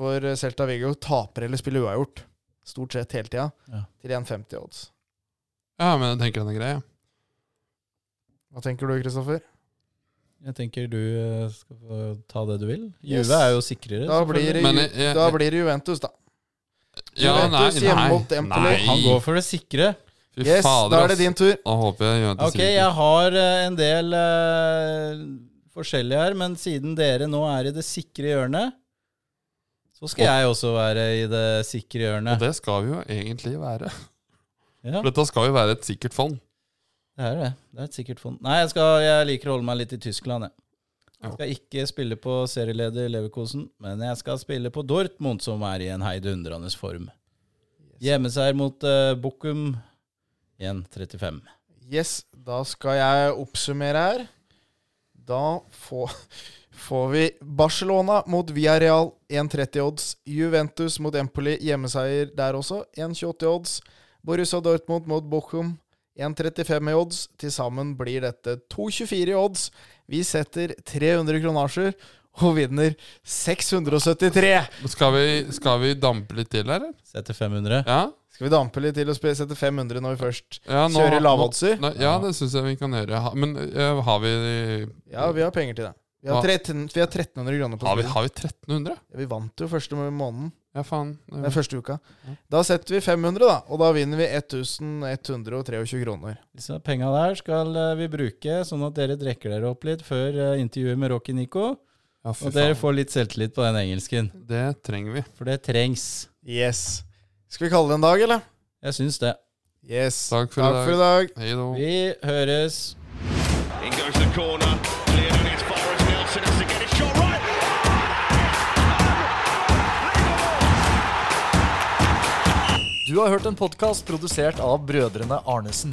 Speaker 3: For eh, Celta Vigo taper eller spiller uavgjort. Stort sett hele tida.
Speaker 1: Ja.
Speaker 3: Til 1,50 odds.
Speaker 2: Ja, men jeg tenker den er grei. ja.
Speaker 3: Hva tenker du, Kristoffer?
Speaker 1: Jeg tenker du eh, skal få ta det du vil.
Speaker 3: Yes.
Speaker 1: Juve er jo sikrere.
Speaker 3: Da
Speaker 1: så får
Speaker 3: blir
Speaker 1: du-
Speaker 3: det,
Speaker 2: Men
Speaker 3: Ju-
Speaker 2: jeg- jeg-
Speaker 3: da blir det Juventus, da.
Speaker 2: Ja, nei,
Speaker 3: Juventus hjemme mot
Speaker 2: nei,
Speaker 3: Empoli.
Speaker 2: nei.
Speaker 1: Han går for det sikre.
Speaker 2: Fy
Speaker 3: Yes,
Speaker 2: fader,
Speaker 3: da er det
Speaker 2: ass.
Speaker 3: din tur.
Speaker 2: Da håper jeg Juventus
Speaker 1: Ok,
Speaker 2: vinner.
Speaker 1: jeg har eh, en del eh, forskjellige her, men siden dere nå er i det sikre hjørnet, så skal jeg også være i det sikre
Speaker 2: Og
Speaker 1: hjørnet.
Speaker 2: det skal vi jo egentlig være.
Speaker 1: Ja,
Speaker 2: For dette skal jo være et sikkert fond.
Speaker 1: det er det. Det er et sikkert fond. Nei, jeg, skal, jeg liker å holde meg litt i Tyskland, jeg. Jeg skal ikke spille på serieleder Leverkosen, men jeg skal spille på Dortmund, som er i en heidundrende form. Hjemmeseier mot eh, Bochum 1.35.
Speaker 3: Yes, da skal jeg oppsummere her. Da får, får vi Barcelona mot Villarreal 1,30 odds. Juventus mot Empoli, hjemmeseier der også, 1,28 odds. Borussia Dortmund mot Bochum, 1,35 i odds. Til sammen blir dette 2,24 i odds. Vi setter 300 kronasjer og vinner 673.
Speaker 2: Men Skal vi, skal vi dampe litt til, eller?
Speaker 1: Setter 500.
Speaker 2: Ja,
Speaker 3: Skal vi dampe litt til og spe- sette 500 når vi først
Speaker 2: ja
Speaker 3: kjører lavoddser?
Speaker 2: Nei, ja, det syns jeg vi kan gjøre. Ha- Men ø, har vi
Speaker 3: Ja, vi har penger til det. Vi har,
Speaker 2: Hva?
Speaker 3: 13, vi har 1300 kroner på
Speaker 2: har vi,
Speaker 3: spillet.
Speaker 2: har vi 1300?
Speaker 3: Ja, vi vant jo første måneden.
Speaker 2: Ja, faen.
Speaker 3: Den første uka. Da setter vi 500, da. Og da vinner vi 1123 kroner.
Speaker 1: Disse penga der skal eh, vi bruke sånn at dere drekker dere opp litt før eh, intervjuet med Rocky Nico.
Speaker 2: Ja, fy
Speaker 1: Og dere
Speaker 2: faen.
Speaker 1: får litt selvtillit på den engelsken,
Speaker 2: Det trenger vi.
Speaker 1: for det trengs.
Speaker 3: Yes. Skal vi kalle det en dag, eller?
Speaker 1: Jeg syns det.
Speaker 3: Yes.
Speaker 2: Takk for i dag.
Speaker 3: Takk for i dag.
Speaker 2: Hei då.
Speaker 1: Vi høres.
Speaker 4: In goes the corner. Cleared on as far as Nelson has to get a shot right.
Speaker 5: Du har hørt en podkast produsert av brødrene Arnesen.